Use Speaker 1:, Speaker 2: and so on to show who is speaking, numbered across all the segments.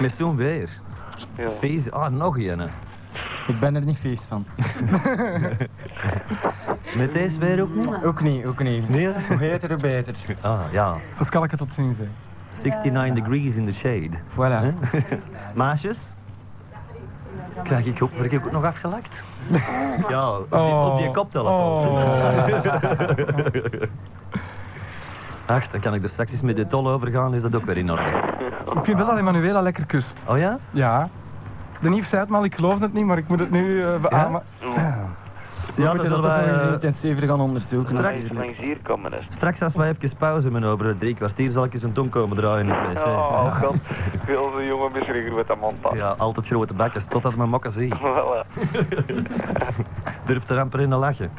Speaker 1: Met zo'n weer.
Speaker 2: Ja.
Speaker 1: Feest. Ah, nog een.
Speaker 3: Ik ben er niet feest van.
Speaker 1: Met deze weer ook niet?
Speaker 3: Ook niet, ook niet.
Speaker 1: Nee?
Speaker 3: Hoe heter, hoe beter.
Speaker 1: Ah, ja.
Speaker 3: Pascalke, tot ziens. Hè.
Speaker 1: 69 degrees in the shade.
Speaker 3: Voilà.
Speaker 1: Maasjes? Krijg ik ook, word ik ook nog afgelakt? Ja, op,
Speaker 3: Oh.
Speaker 1: die, op die koptelefoons.
Speaker 3: Oh.
Speaker 1: Ach, dan kan ik er straks eens met de tol over gaan, is dat ook weer in orde.
Speaker 4: Ik vind wel dat Emanuela lekker kust.
Speaker 1: Oh ja?
Speaker 4: Ah. Ja. De Nief zei het maar, ik geloof het niet, maar ik moet het nu eh beamen.
Speaker 3: We
Speaker 1: Ja, dan
Speaker 3: moeten dat
Speaker 1: zullen
Speaker 3: toch nog
Speaker 1: wij,
Speaker 3: eens
Speaker 1: eh,
Speaker 3: intensiever gaan onderzoeken.
Speaker 1: straks-
Speaker 3: natuurlijk.
Speaker 2: Langs hier komen er.
Speaker 1: straks als wij even pauze hebben over drie kwartier, zal ik eens een tong komen draaien in het wc.
Speaker 2: Oh, god. Wil de jongen misschien met dat eh, mond aan.
Speaker 1: Ja, altijd grote bakjes, totdat mijn mokken zie.
Speaker 2: Voilà.
Speaker 1: Durft er amper in te lachen.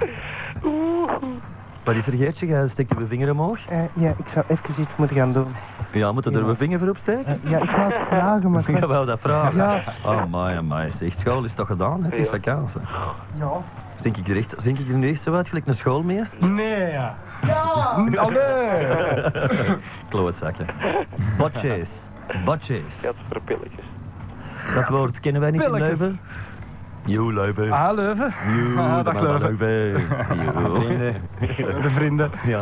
Speaker 1: Wat is er, Geertje? Jij steekt je vinger omhoog?
Speaker 5: Eh, ja, ik zou even iets moeten gaan doen.
Speaker 1: Ja, moeten er een vinger voor opsteken?
Speaker 5: Eh, ja, ik wou het vragen, maar...
Speaker 1: Ik wou dat vragen.
Speaker 5: Ja.
Speaker 1: Oh, my, my. Zeg, school is toch gedaan? Het is
Speaker 2: Ja.
Speaker 1: vakantie. Ja. Zink ik er, echt, zink ik er nu echt zo uit, gelijk een schoolmeester?
Speaker 4: Nee, ja. Ja! Allee!
Speaker 1: Klootzakken. Botjes. Botjes.
Speaker 2: Gat voor pilletjes.
Speaker 1: Dat woord kennen wij niet in
Speaker 4: Pilletjes.
Speaker 1: Leuven. Joe, Leuven.
Speaker 4: Ah, Leuven.
Speaker 1: Joe,
Speaker 4: ah,
Speaker 1: de
Speaker 4: dag,
Speaker 1: man van
Speaker 4: Leuven.
Speaker 1: Leuven. Joe.
Speaker 4: De vrienden.
Speaker 1: Ja.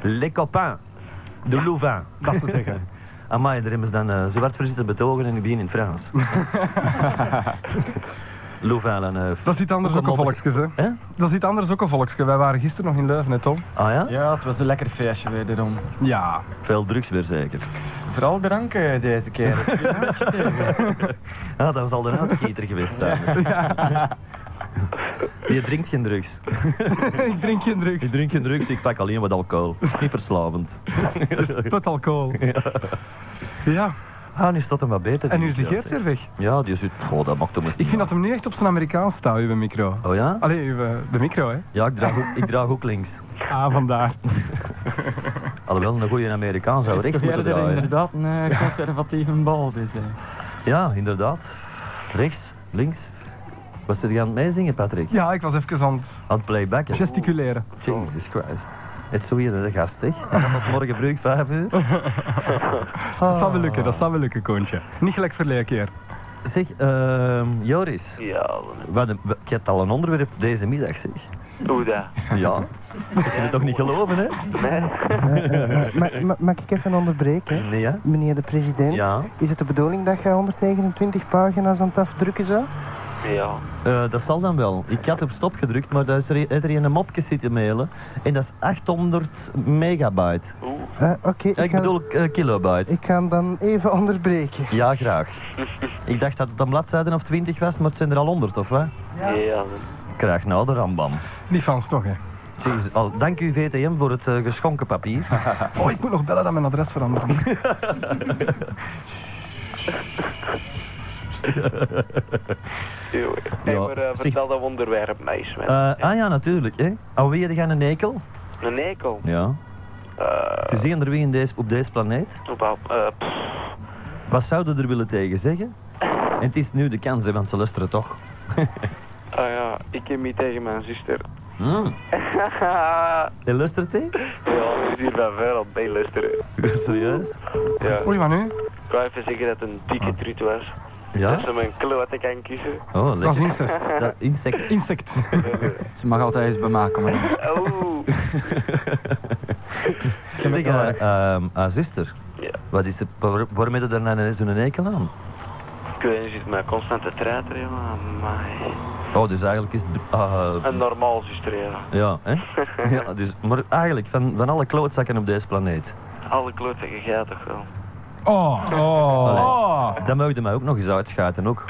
Speaker 1: Les copains. De Louvain.
Speaker 4: Dat ze zeggen.
Speaker 1: Amai, daar hebben ze dan eh, zwart voor zitten betogen en ik begin in het Frans. Louvain dan. eh,
Speaker 4: Dat is iets anders ook een volksjes, hè.
Speaker 1: Hè?
Speaker 4: Dat is iets anders ook een volksje. Wij waren gisteren nog in Leuven, hè, Tom?
Speaker 1: Ah ja?
Speaker 3: Ja, het was een lekker feestje wederom.
Speaker 4: Ja.
Speaker 1: Veel drugs weer zeker.
Speaker 3: Vooral drank eh, deze keer.
Speaker 1: Ah, dan zal er een uitgieter geweest zijn. Je drinkt geen drugs.
Speaker 4: ik drink geen drugs.
Speaker 1: Je drinkt geen drugs, ik pak alleen wat alcohol. Dat is niet verslavend.
Speaker 4: Tot alcohol. Ja. ja.
Speaker 1: Ah, nu staat hem wat beter.
Speaker 4: En nu
Speaker 1: denk
Speaker 4: is
Speaker 1: ik
Speaker 4: de
Speaker 1: wel,
Speaker 4: Geert
Speaker 1: zeg.
Speaker 4: weer weg.
Speaker 1: Ja, die zit... Oh, dat maakt hem eens
Speaker 4: Ik vind dat hem nu echt op zijn Amerikaans staat, uw micro.
Speaker 1: Oh ja?
Speaker 4: Allee, uw, eh, de micro, hè.
Speaker 1: Ja, ik draag ook, ik draag ook links.
Speaker 4: Ah, vandaar.
Speaker 1: Alhoewel, een goede Amerikaan zou
Speaker 3: is
Speaker 1: rechts
Speaker 3: toch
Speaker 1: moeten
Speaker 3: eerder
Speaker 1: draaien.
Speaker 3: inderdaad een eh, conservatieve bal. Dus, eh.
Speaker 1: Ja, inderdaad. Rechts, links. Wat zit je aan het meezingen, Patrick?
Speaker 4: Ja, ik was even aan het
Speaker 1: Aan het playbacken. Oh,
Speaker 4: gesticuleren.
Speaker 1: Jesus Christ. Het zo hier de gast, zeg. Oh. En dan tot morgen vroeg, vijf uur.
Speaker 4: Dat zal wel lukken, dat zal wel lukken, Koontje. Niet gelijk verleden keer.
Speaker 1: Zeg, ehm, Joris.
Speaker 2: Ja,
Speaker 1: Wat een, wat- je hebt al een onderwerp deze middag, zeg.
Speaker 2: hoe dat?
Speaker 1: Ja. Ik kan het toch niet geloven, hè?
Speaker 2: Nee?
Speaker 5: Ma- ma- mag ik even onderbreken?
Speaker 1: Nee, hè?
Speaker 5: Meneer de president,
Speaker 1: Ja.
Speaker 5: is het de bedoeling dat je 129 pagina's aan het afdrukken zou?
Speaker 2: Ja.
Speaker 1: Eh, dat zal dan wel. Ik had op stop gedrukt, maar daar is er, heeft er een mopje zitten mailen. En dat is 800 megabyte.
Speaker 2: Oeh.
Speaker 5: Eh, Oké, ik,
Speaker 1: Ik
Speaker 5: ga-
Speaker 1: bedoel eh, kilobyte.
Speaker 5: ik ga hem dan even onderbreken.
Speaker 1: Ja, graag. Ik dacht dat het een bladzijde of 20 was, maar het zijn er al 100, of wat?
Speaker 2: Ja.
Speaker 1: Krijg nou de rambam.
Speaker 4: Niet Frans toch, hè?
Speaker 1: Jezus, al, dank u VTM voor het eh, geschonken papier.
Speaker 4: Oh, ik moet nog bellen dat mijn adres veranderen.
Speaker 2: Eeuw. Hey,
Speaker 1: Ja,
Speaker 2: maar eh,
Speaker 1: zeg-
Speaker 2: vertel dat onderwerp mij eens, man.
Speaker 1: Eh, ah ja, natuurlijk. Hè. Aan wie heb je een ekel?
Speaker 2: Een ekel.
Speaker 1: Ja.
Speaker 4: Eh.
Speaker 1: Het is eender wie in deze, op deze planeet.
Speaker 2: Op, eh, pff,
Speaker 1: Wat zouden er willen tegen zeggen? En het is nu de kans, hè, want ze luisteren toch.
Speaker 2: ah ja, ik heb niet tegen mijn zuster.
Speaker 1: Hmm.
Speaker 2: ja,
Speaker 1: En luistert hij?
Speaker 2: die is hier van ver op bij luisteren.
Speaker 1: Serieus?
Speaker 2: Ja.
Speaker 4: Oei, maar nu?
Speaker 2: Ik wou even zeggen dat het een
Speaker 1: Ah.
Speaker 2: dikke trut was. Dat
Speaker 1: Ja?
Speaker 2: ze mijn klote kan kiezen.
Speaker 1: Oh,
Speaker 4: Dat is
Speaker 1: lekker.
Speaker 4: incest.
Speaker 1: Dat insect.
Speaker 4: Insect.
Speaker 3: Ze mag altijd eens bemaken, maar
Speaker 2: Oeh.
Speaker 1: Zeg, eh, ehm, ah, zuster.
Speaker 2: Ja.
Speaker 1: Wat is er, waar- waarom heb je daar nou ineens zo'n ekel aan?
Speaker 2: Ik weet niet, je zit maar constant te treiteren, jongen. Amai.
Speaker 1: Oh, dus eigenlijk is... het- ah,
Speaker 2: Een normaal zuster, ja.
Speaker 1: ja, hè? ja, dus, maar eigenlijk, van, van alle klootzakken op deze planeet.
Speaker 2: Alle klote, je gaat toch wel.
Speaker 4: Oh, oh, oh.
Speaker 1: Dat mogen mij ook nog eens uitschuiten, ook.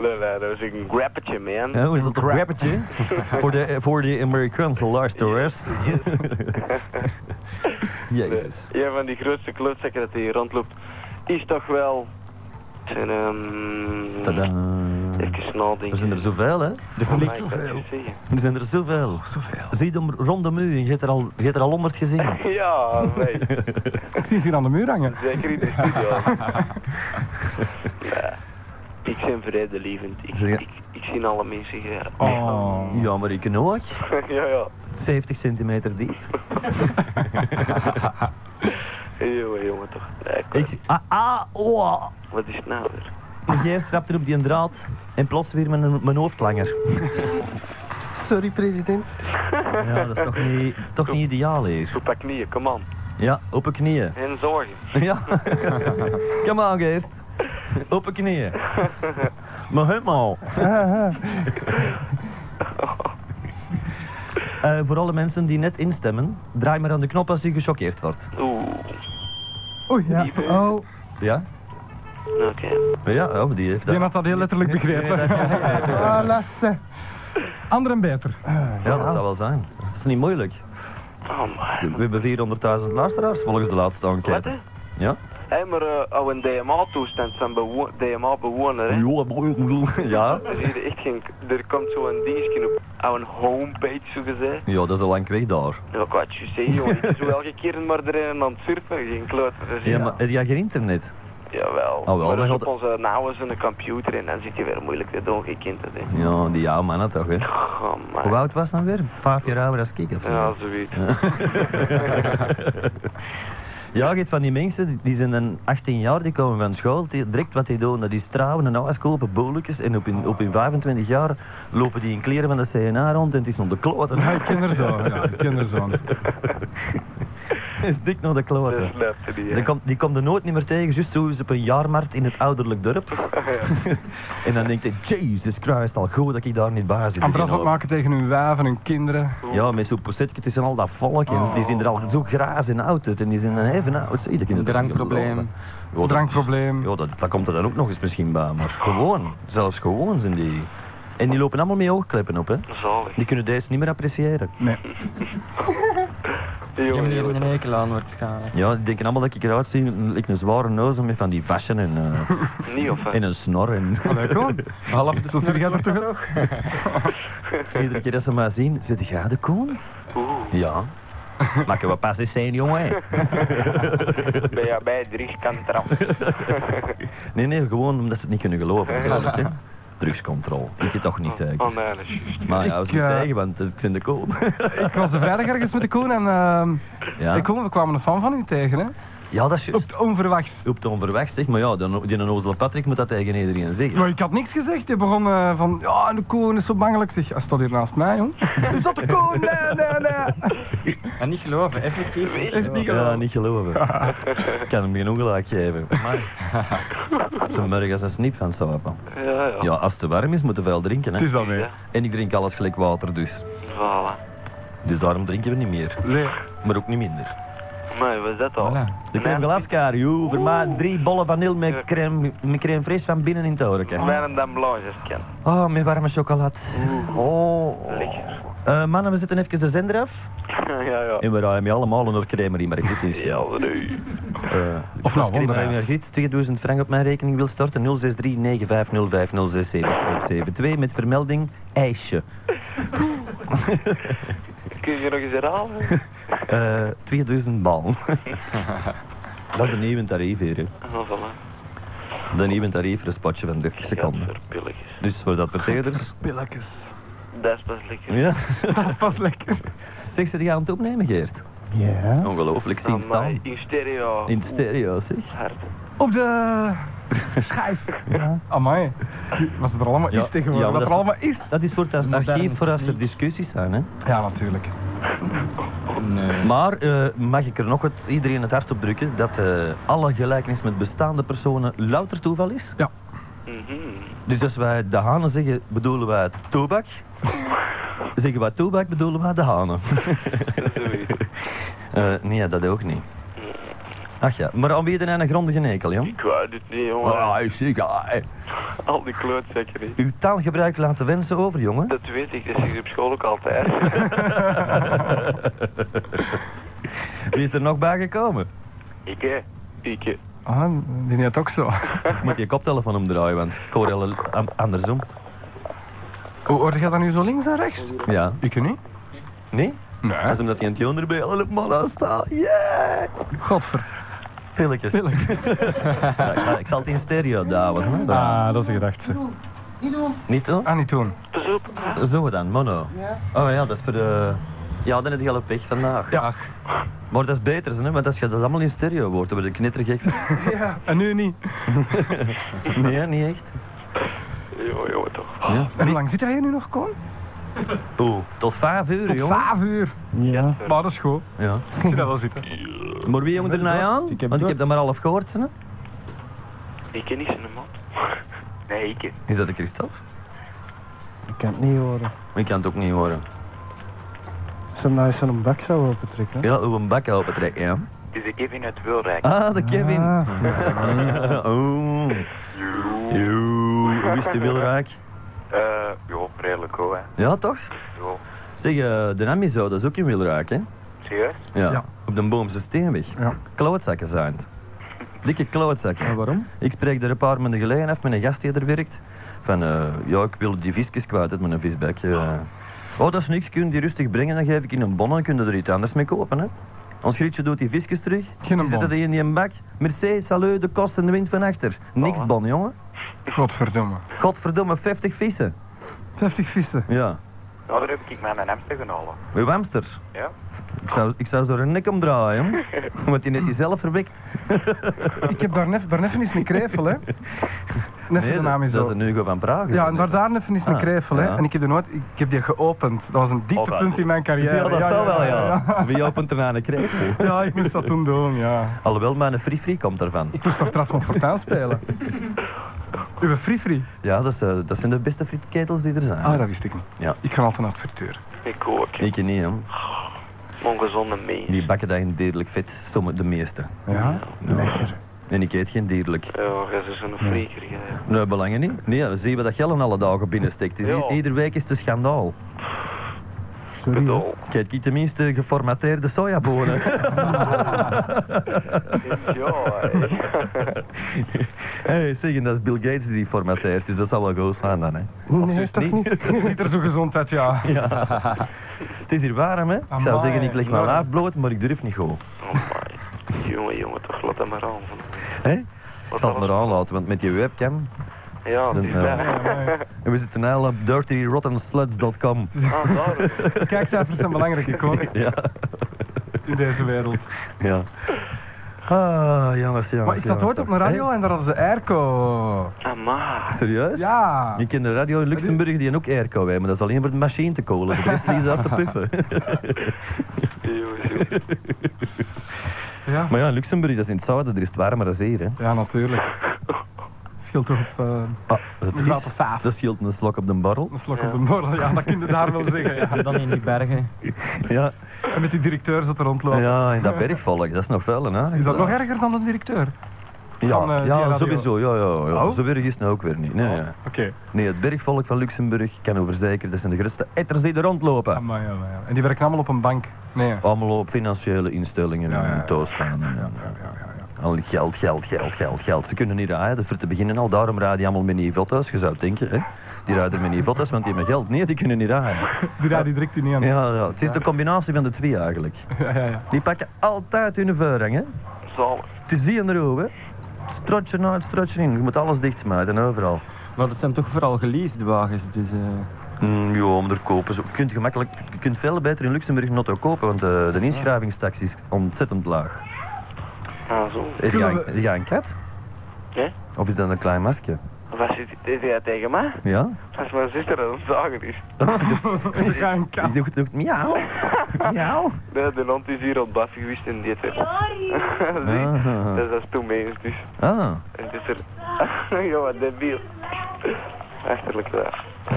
Speaker 2: Nee, nee, dat is een grappetje, man.
Speaker 1: Ja, hoe is dat een rappertje? Voor de, voor de Amerikaanse luisteraars. Jezus.
Speaker 2: Een van die grootste klootzakken dat hier rondloopt is toch wel... Zijn, ehm
Speaker 1: Tadaa.
Speaker 2: Even nadenken.
Speaker 1: Er zijn er zoveel, hè?
Speaker 3: er
Speaker 2: Amai,
Speaker 3: vliegt
Speaker 2: ik kan het
Speaker 3: zoveel.
Speaker 2: niet zeggen.
Speaker 1: Er zijn er zoveel.
Speaker 4: Zoveel.
Speaker 1: Zie hem rondom u en je hebt er al- je hebt er al honderd gezien.
Speaker 2: Ja, nee.
Speaker 4: Ik zie ze hier aan de muur hangen.
Speaker 2: Zeker in de studio. nee. Ik ben vredelievend. Ik,
Speaker 1: Zeg je-
Speaker 2: ik, ik zie alle mensen graag.
Speaker 4: Oh.
Speaker 1: Ja, maar ik ook.
Speaker 2: ja, ja.
Speaker 1: 70 centimeter diep.
Speaker 2: Jongen, jongen, toch. Nee,
Speaker 1: Ik zie... Ah, ah, oh.
Speaker 2: Wat is het nou weer?
Speaker 1: Geert trapte op die draad en plots weer mijn, mijn hoofd langer.
Speaker 5: Sorry, president.
Speaker 1: Ja, dat is toch niet, toch niet ideaal hier.
Speaker 2: Super knieën, kom aan.
Speaker 1: Ja, op een knieën.
Speaker 2: En zorgen.
Speaker 1: Ja. Come on, Geert. Op een knieën. Maar helemaal. Eh voor alle mensen die net instemmen, draai maar aan de knop als je gechoqueerd wordt.
Speaker 2: Oeh,
Speaker 5: Oei, ja. Oh,
Speaker 1: Ja?
Speaker 2: nou, oké.
Speaker 1: Ja, oh, die heeft dat.
Speaker 4: Die had dat heel letterlijk begrepen.
Speaker 5: ah, lasse.
Speaker 4: Ander en beter.
Speaker 1: Ja, dat zou wel zijn. Dat is niet moeilijk.
Speaker 2: Oh man.
Speaker 1: We hebben 400.000 luisteraars volgens de laatste
Speaker 2: Wat
Speaker 1: enquête.
Speaker 2: hè?
Speaker 1: Ja?
Speaker 2: Hé, maar eh, oh, een DMA-toestand zijn bewo- DMA-bewoner, hè?
Speaker 1: Ja?
Speaker 2: Er, is hier echt geen, er komt zo'n dingetje op aan een homepage, zo gezegd.
Speaker 1: Ja, dat is al lang weg daar.
Speaker 2: Ja, ik wat je zeggen, joh. Het is wel elke keer maar er een aan het surfen, geen kloot. Dus,
Speaker 1: Ja, maar heb jij geen internet?
Speaker 2: Jawel.
Speaker 1: wel,
Speaker 2: maar dat
Speaker 1: dan
Speaker 2: is
Speaker 1: gaat-
Speaker 2: op onze nauwe een computer en dan zit je weer moeilijk te doen, geen kind dat, hè.
Speaker 1: Ja, die jouw mannen toch, hè?
Speaker 2: Oh man.
Speaker 1: Hoe oud was dan weer? Vijf jaar ouder als ik of zo?
Speaker 2: Ja, zoiets.
Speaker 1: Ja, je hebt van die mensen, die- die zijn dan 18 jaar, die komen van school. Die, direct wat die doen, dat is trouwen en alles kopen, boelletjes. En op hun, op hun 25 jaar lopen die in kleren van de CNA rond en het is nog de kloten.
Speaker 4: Ja, ik ken er zo. Ja, ik ken er zo.
Speaker 1: Het is dik nog de
Speaker 2: Dat
Speaker 1: kloten.
Speaker 2: slaapt die, hè.
Speaker 1: Die komt, die komt er nooit niet meer tegen, juist zo eens op een jaarmarkt in het ouderlijk dorp. en dan denkt hij, Jesus Christ, al goed dat ik daar niet bij zit.
Speaker 4: Aan bras opmaken tegen hun wijven, hun kinderen.
Speaker 1: Ja, met zo'n possetje tussen al dat volk. En die zijn er al zo graas en oud uit. En die zijn dan even oud. Zie, dat kinderen-
Speaker 3: Drankprobleem.
Speaker 1: Ja, dat-
Speaker 4: Drankprobleem.
Speaker 1: Ja, dat, dat komt er dan ook nog eens misschien bij. Maar gewoon, zelfs gewoon zijn die. En die lopen allemaal met oogkleppen op, hè.
Speaker 2: Zalig.
Speaker 1: Die kunnen deze niet meer appreciëren.
Speaker 4: Nee.
Speaker 3: Je
Speaker 2: Jongen,
Speaker 3: hebt hier
Speaker 2: jongen.
Speaker 3: een hekel aan wordt schade.
Speaker 1: Ja, die denken allemaal dat ik eruit zie. Ik een zware neus en met van die vassen en, eh,
Speaker 2: Niet of hè?
Speaker 1: en een snor. En
Speaker 4: Allee, Ah, kom.
Speaker 3: Half de
Speaker 4: Zo zit jij er toch uit?
Speaker 1: iedere keer dat ze mij zien, zit jij de koen?
Speaker 2: eh, Oeh,
Speaker 1: Ja. Maken we pas eens zijn, jongen. hè.
Speaker 2: ben jij bij de richtkant eraf?
Speaker 1: Nee, nee, gewoon omdat ze het niet kunnen geloven. Natuurlijk, hè. Drugscontrole. Ik het toch niet zeker.
Speaker 2: Oh nee, dat is juist.
Speaker 1: Maar ja, dat is
Speaker 4: Ik,
Speaker 1: niet
Speaker 4: eh,
Speaker 1: tegen, want het is- ik ben de koop.
Speaker 4: Ik was de vrijdag ergens met de Koen en ehm,
Speaker 1: Ja,
Speaker 4: de Koen, we kwamen een fan van u tegen. Hè?
Speaker 1: ja dat is
Speaker 4: Op
Speaker 1: juist.
Speaker 4: het onverwachts.
Speaker 1: Op de onverwacht, zeg maar ja, dan- die Ozele Patrick moet dat tegen iedereen zeggen.
Speaker 4: Maar ik had niks gezegd. Hij begon eh, van, ja, de Koen is zo bangelijk. Ik Zeg, hij staat hier naast mij, jong. Is dat de Koen? Nee, nee, nee.
Speaker 3: En niet geloven, effectief.
Speaker 4: Echt niet
Speaker 1: Ja,
Speaker 4: gedaan.
Speaker 1: niet geloven. ik kan hem geen ongelijk geven. Zo'n morgen als een snip van sappen.
Speaker 2: Ja, ja.
Speaker 1: Ja, als het te warm is, moeten we wel drinken.
Speaker 4: Het
Speaker 1: Hè.
Speaker 4: is al mee.
Speaker 1: En ik drink alles gelijk water dus.
Speaker 2: Voilà.
Speaker 1: Dus daarom drinken we niet meer.
Speaker 4: Nee.
Speaker 1: Maar ook niet minder.
Speaker 2: Maar wat is dat al?
Speaker 4: Voilà.
Speaker 1: De crème glaskaar, joe, voor mij drie bollen vanille met crème, met crème fraîche van binnen in het horeca.
Speaker 2: Mijn dan blanche is het ken.
Speaker 1: Oh, met warme chocolade. Oh.
Speaker 2: Lekker.
Speaker 1: Eh, mannen, we zetten even de zender af.
Speaker 2: ja, ja.
Speaker 1: En we rijden met allemaal een crème in, maar goed is. Eh, Ja,
Speaker 2: nee.
Speaker 4: Of nou,
Speaker 1: Als Crema
Speaker 4: wonderhuis.
Speaker 1: Energiet 2000 frank op mijn rekening wil storten, 063 9505067 met vermelding ijsje.
Speaker 2: Kun je nog eens herhalen?
Speaker 1: Eh 2000 bal. Dat is een nieuwe tarief hier. hè.
Speaker 2: Oh, voilà.
Speaker 1: Dat is een nieuwe tarief voor een spotje van 30 seconden.
Speaker 2: Gadverpilletjes.
Speaker 1: Dus voor dat verteerders.
Speaker 4: Pilletjes.
Speaker 2: Dat is pas lekker.
Speaker 1: Ja.
Speaker 4: Dat is pas lekker.
Speaker 1: Zeg, ze die aan het opnemen, Geert?
Speaker 5: Ja.
Speaker 1: Ongelooflijk, zien
Speaker 2: Amai,
Speaker 1: staan.
Speaker 2: Ah, In stereo.
Speaker 1: In het stereo, zeg.
Speaker 2: Hard.
Speaker 4: Op de schijf.
Speaker 5: Ja.
Speaker 4: Amai. Wat er allemaal
Speaker 1: Ja,
Speaker 4: is tegenwoordig.
Speaker 1: ja, maar
Speaker 4: wat er
Speaker 1: dat is-
Speaker 4: allemaal is.
Speaker 1: Dat is voor het
Speaker 3: Moderne
Speaker 1: archief voor als er discussies zijn. Hè.
Speaker 4: Ja, natuurlijk.
Speaker 3: Nee.
Speaker 1: Maar eh, mag ik er nog het, iedereen het hart op drukken dat eh, alle gelijkenis met bestaande personen louter toeval is?
Speaker 2: Mhm.
Speaker 1: Dus als wij de hanen zeggen, bedoelen wij tobak. zeggen wij tobak, bedoelen wij de hanen.
Speaker 2: Zoiets.
Speaker 1: Eh, nee, dat ook niet. Ach ja, maar aan wie de een grondige nekel, jong?
Speaker 2: Ik wou dit niet, jongen.
Speaker 1: Ah, zeker. ah.
Speaker 2: Al die klootzakken niet.
Speaker 1: Uw taalgebruik laten wensen over, jongen.
Speaker 2: Dat weet ik, dat is op school ook altijd.
Speaker 1: Wie is er nog bij gekomen?
Speaker 2: ik hè. Ik hè.
Speaker 4: Ah, die net ook zo.
Speaker 1: Ik moet je koptelefoon omdraaien, want ik hoor heel an- andersom.
Speaker 4: Hoe hoorde jij dat nu zo links en rechts?
Speaker 1: Ja.
Speaker 4: Ik niet.
Speaker 1: Nee? Dat
Speaker 4: Nee.
Speaker 1: is omdat hij aan het jonder bij alle mannen staat. Yeah!
Speaker 4: Godver.
Speaker 1: Pilletjes. Ja, ja, ik zal het in stereo dames. hè. Dat-
Speaker 4: Ah, dat is een gedachte.
Speaker 5: Niet doen.
Speaker 1: Niet hoor.
Speaker 4: Ah, niet doen.
Speaker 2: Pas op.
Speaker 1: Zo dan, mono.
Speaker 5: Ja.
Speaker 1: Oh ja, dat is voor de... Ja, dan heb je al een pech vandaag.
Speaker 4: Ja.
Speaker 1: Maar dat is beter, hè? want als je dat allemaal in stereo hoort, dan word je knettergek van.
Speaker 4: ja. En nu niet.
Speaker 1: Nee, niet echt.
Speaker 2: Jongen, jongen toch.
Speaker 1: Ja.
Speaker 4: En hoe lang zit er hier nu nog, Koen?
Speaker 1: Oeh, tot vijf uur,
Speaker 4: Tot
Speaker 1: jongen.
Speaker 4: vijf uur.
Speaker 1: Ja.
Speaker 4: Maar dat is goed.
Speaker 1: ja.
Speaker 4: Ik zie dat wel zitten.
Speaker 1: Maar wie jongen
Speaker 3: Ik heb
Speaker 1: erna
Speaker 3: dorst,
Speaker 1: aan?
Speaker 3: ik heb
Speaker 1: Want ik heb
Speaker 3: dorst.
Speaker 1: dat maar half gehoord, hè?
Speaker 2: Ik ken niet zijn man. Nee, ik ken.
Speaker 1: Is dat de Christophe?
Speaker 5: Ik kan het niet horen.
Speaker 1: Ik kan het ook niet horen.
Speaker 5: Als hem nou eens een bak zou opentrekken. hè?
Speaker 1: Ja, hoe een bak open trekken, ja.
Speaker 2: Het is de Kevin uit Wilrijk.
Speaker 1: Ah, de Kevin.
Speaker 5: Ah,
Speaker 1: Oeh. Joe. Hoe is de wilraak?
Speaker 2: Eh, jo, redelijk hoor. hè.
Speaker 1: Ja, toch?
Speaker 2: Jo,
Speaker 1: Zeg, eh, de Amizo, dat is ook in wilraak, hè?
Speaker 2: serieus?
Speaker 1: Ja.
Speaker 4: Ja.
Speaker 1: Op de Boomse Steenweg.
Speaker 4: Ja.
Speaker 1: Klootzakken zijn het. Dikke klootzakken. waarom? Ik spreek er een paar maanden geleden af met een gast die er werkt. Van, eh, ja, ik wil die visjes kwijt uit mijn visbak. eh. Oh, dat is niks. Kun je die rustig brengen, dan geef ik in een bon en kun je er iets anders mee kopen, hè? Ons Grietje doet die visjes terug.
Speaker 4: Geen
Speaker 1: die
Speaker 4: bon.
Speaker 1: zitten die in die bak. Mercedes, salut, de kost en de wind van achter. Niks
Speaker 2: Oh.
Speaker 1: bon, jongen.
Speaker 4: Godverdomme.
Speaker 1: Godverdomme, 50 vissen.
Speaker 4: 50 vissen.
Speaker 1: Ja.
Speaker 2: Nou, daar heb ik mij mijn hamster genomen.
Speaker 1: Uw hamster.
Speaker 2: Ja?
Speaker 1: Ik zou, ik zou zo een nek omdraaien, jong. want die net die zelf verwekt.
Speaker 4: Ik heb daar nef, daar neffen is een krevel, hè. Neffen de naam is
Speaker 1: dat
Speaker 4: zo.
Speaker 1: is een Hugo van Praag. is
Speaker 4: Ja,
Speaker 1: dat
Speaker 4: en
Speaker 1: niet?
Speaker 4: daar, daar neffen is een
Speaker 1: Ah,
Speaker 4: krevel, hè.
Speaker 1: ja.
Speaker 4: En ik heb die nooit... Ik heb die geopend. Dat was een dieptepunt
Speaker 1: Oh,
Speaker 4: in mijn carrière.
Speaker 1: Ja, dat zal wel, ja.
Speaker 4: ja.
Speaker 1: Wie opent er aan een kreeg?
Speaker 4: Ja, ik moest dat toen doen, ja.
Speaker 1: Alhoewel, mijn free free komt ervan.
Speaker 4: Ik moest daar Trad van Fortuin spelen. Uwe Frifri.
Speaker 1: Ja, dat, is, eh, dat zijn de beste frietketels die er zijn.
Speaker 4: Ah, dat wist ik niet.
Speaker 1: Ja.
Speaker 4: Ik ga altijd naar het frituur.
Speaker 2: Ik ook.
Speaker 1: Ik niet, hè.
Speaker 2: Ongezonde mens.
Speaker 1: Die bakken dat in dierlijk vet, sommige de meeste.
Speaker 4: Ja?
Speaker 5: lekker.
Speaker 1: En ik eet geen dierlijk.
Speaker 2: Ja, jij is een freaker. jij.
Speaker 1: Nee, belangen niet. Nee, dan zien we dat Gellen alle dagen binnensteekt. Dus i-
Speaker 2: Ja.
Speaker 1: Iedere week is het een schandaal.
Speaker 5: Sorry. hè.
Speaker 2: Dol.
Speaker 1: Kijk, ik tenminste geformateerde sojabonen.
Speaker 2: Ja, hè.
Speaker 1: hey, zeg, en dat is Bill Gates die die formateert, dus dat zal wel goed zijn dan, hè. Of
Speaker 5: Nee,
Speaker 1: zus
Speaker 5: toch
Speaker 1: niet?
Speaker 5: niet?
Speaker 4: Je ziet er zo gezond uit, ja.
Speaker 1: Het is hier warm, hè. Ik zou
Speaker 4: Amai,
Speaker 1: zeggen, ik leg mijn
Speaker 4: warm.
Speaker 1: laaf bloot, maar ik durf niet goed.
Speaker 2: Oh my. Jongen, jongen, toch, laat dat maar aan.
Speaker 1: Hè? Ik zal het maar aanlaten, want met die webcam...
Speaker 2: Ja,
Speaker 1: Dan,
Speaker 2: het is
Speaker 1: eh,
Speaker 2: daar.
Speaker 1: En we zitten al op dirtyrottensluts.com.
Speaker 2: Ah, daar.
Speaker 4: Kijkcijfers zijn belangrijk, ik hoor,
Speaker 1: Ja.
Speaker 4: in deze wereld.
Speaker 1: ja. Ah, jongens, jongens.
Speaker 4: Maar ik zat
Speaker 1: jongens,
Speaker 4: ooit op een radio en daar hadden ze airco.
Speaker 2: Amai.
Speaker 1: Hey, serieus?
Speaker 4: Ja.
Speaker 1: Je kent de radio in Luxemburg die een ook airco hebben, maar dat is alleen voor de machine te kolen. Voor de rest liggen ze daar te puffen.
Speaker 2: Jongens, jongens.
Speaker 4: Ja,
Speaker 1: Maar ja, in Luxemburg, dat is in het zuiden, er is het warmer dan zeer. Hè.
Speaker 4: ja natuurlijk. Het scheelt toch op eh,
Speaker 1: Ah, dat,
Speaker 4: een graad of
Speaker 1: is,
Speaker 4: vijf.
Speaker 1: dat scheelt een slok op de barrel.
Speaker 4: Een slok
Speaker 2: Ja.
Speaker 4: op de morgen, ja, dat kun je daar wel zeggen. Ja.
Speaker 3: Dan in die bergen.
Speaker 1: Ja,
Speaker 4: En met die directeur zat er rondlopen.
Speaker 1: ja in dat bergvolk, dat is nog vuil, hè.
Speaker 4: Is dat nog erger dan een directeur? dan, eh,
Speaker 1: Ja,
Speaker 4: die
Speaker 1: ja
Speaker 4: radio?
Speaker 1: sowieso. Ja, ja, ja.
Speaker 4: Oh?
Speaker 1: Zo erg is het nou ook weer niet. Nee, nee.
Speaker 4: Oké.
Speaker 1: nee, het bergvolk van Luxemburg kan over zeker, dat zijn de grootste etters die er rondlopen.
Speaker 4: Amai, amai, amai. En die werken allemaal op een bank. Nee.
Speaker 1: Allemaal op financiële instellingen
Speaker 4: Ja, ja, ja.
Speaker 1: en toestaan. En, en al die geld, geld, geld, geld, geld. Ze kunnen niet rijden. Voor te beginnen al, daarom rijden die allemaal met Nivettas. Je zou denken, hè? Die rijden met Nivettas, want die hebben geld. Nee, die kunnen niet rijden.
Speaker 4: Die raad die direct niet aan.
Speaker 1: Ja, ja. Het is de combinatie van de twee eigenlijk.
Speaker 4: Ja, ja, ja.
Speaker 1: Die pakken altijd hun voorrang, hè?
Speaker 2: Zalig.
Speaker 1: Het is die en de roe, hè? Strotje uit, strotje in. Je moet alles dichtsmijten, overal.
Speaker 3: Maar dat zijn toch vooral geleased wagens, dus... eh,
Speaker 1: Mm, ja, om er kopen. Zo, je, kunt gemakkelijk, je kunt veel beter in Luxemburg een auto kopen, want eh, de inschrijvingstax is ontzettend laag. Eh,
Speaker 2: Ah, zo.
Speaker 1: Heb jij, heb jij een kat?
Speaker 2: Hè?
Speaker 1: Of is dat een klein maskje?
Speaker 2: Wat zit dit jij tegen mij?
Speaker 1: Ja?
Speaker 2: Dat is mijn zuster dat het zagen is.
Speaker 4: Ik ga een
Speaker 1: Die
Speaker 4: kat.
Speaker 1: doet, doet miauw. Miauw.
Speaker 2: De, de hond is hier aan het bassen geweest en die heeft... Zie,
Speaker 1: Ah,
Speaker 2: dat is- dat is toen mee dus.
Speaker 1: ah.
Speaker 2: En het is er... ja, wat debiel. Achterlijk daar. Ja.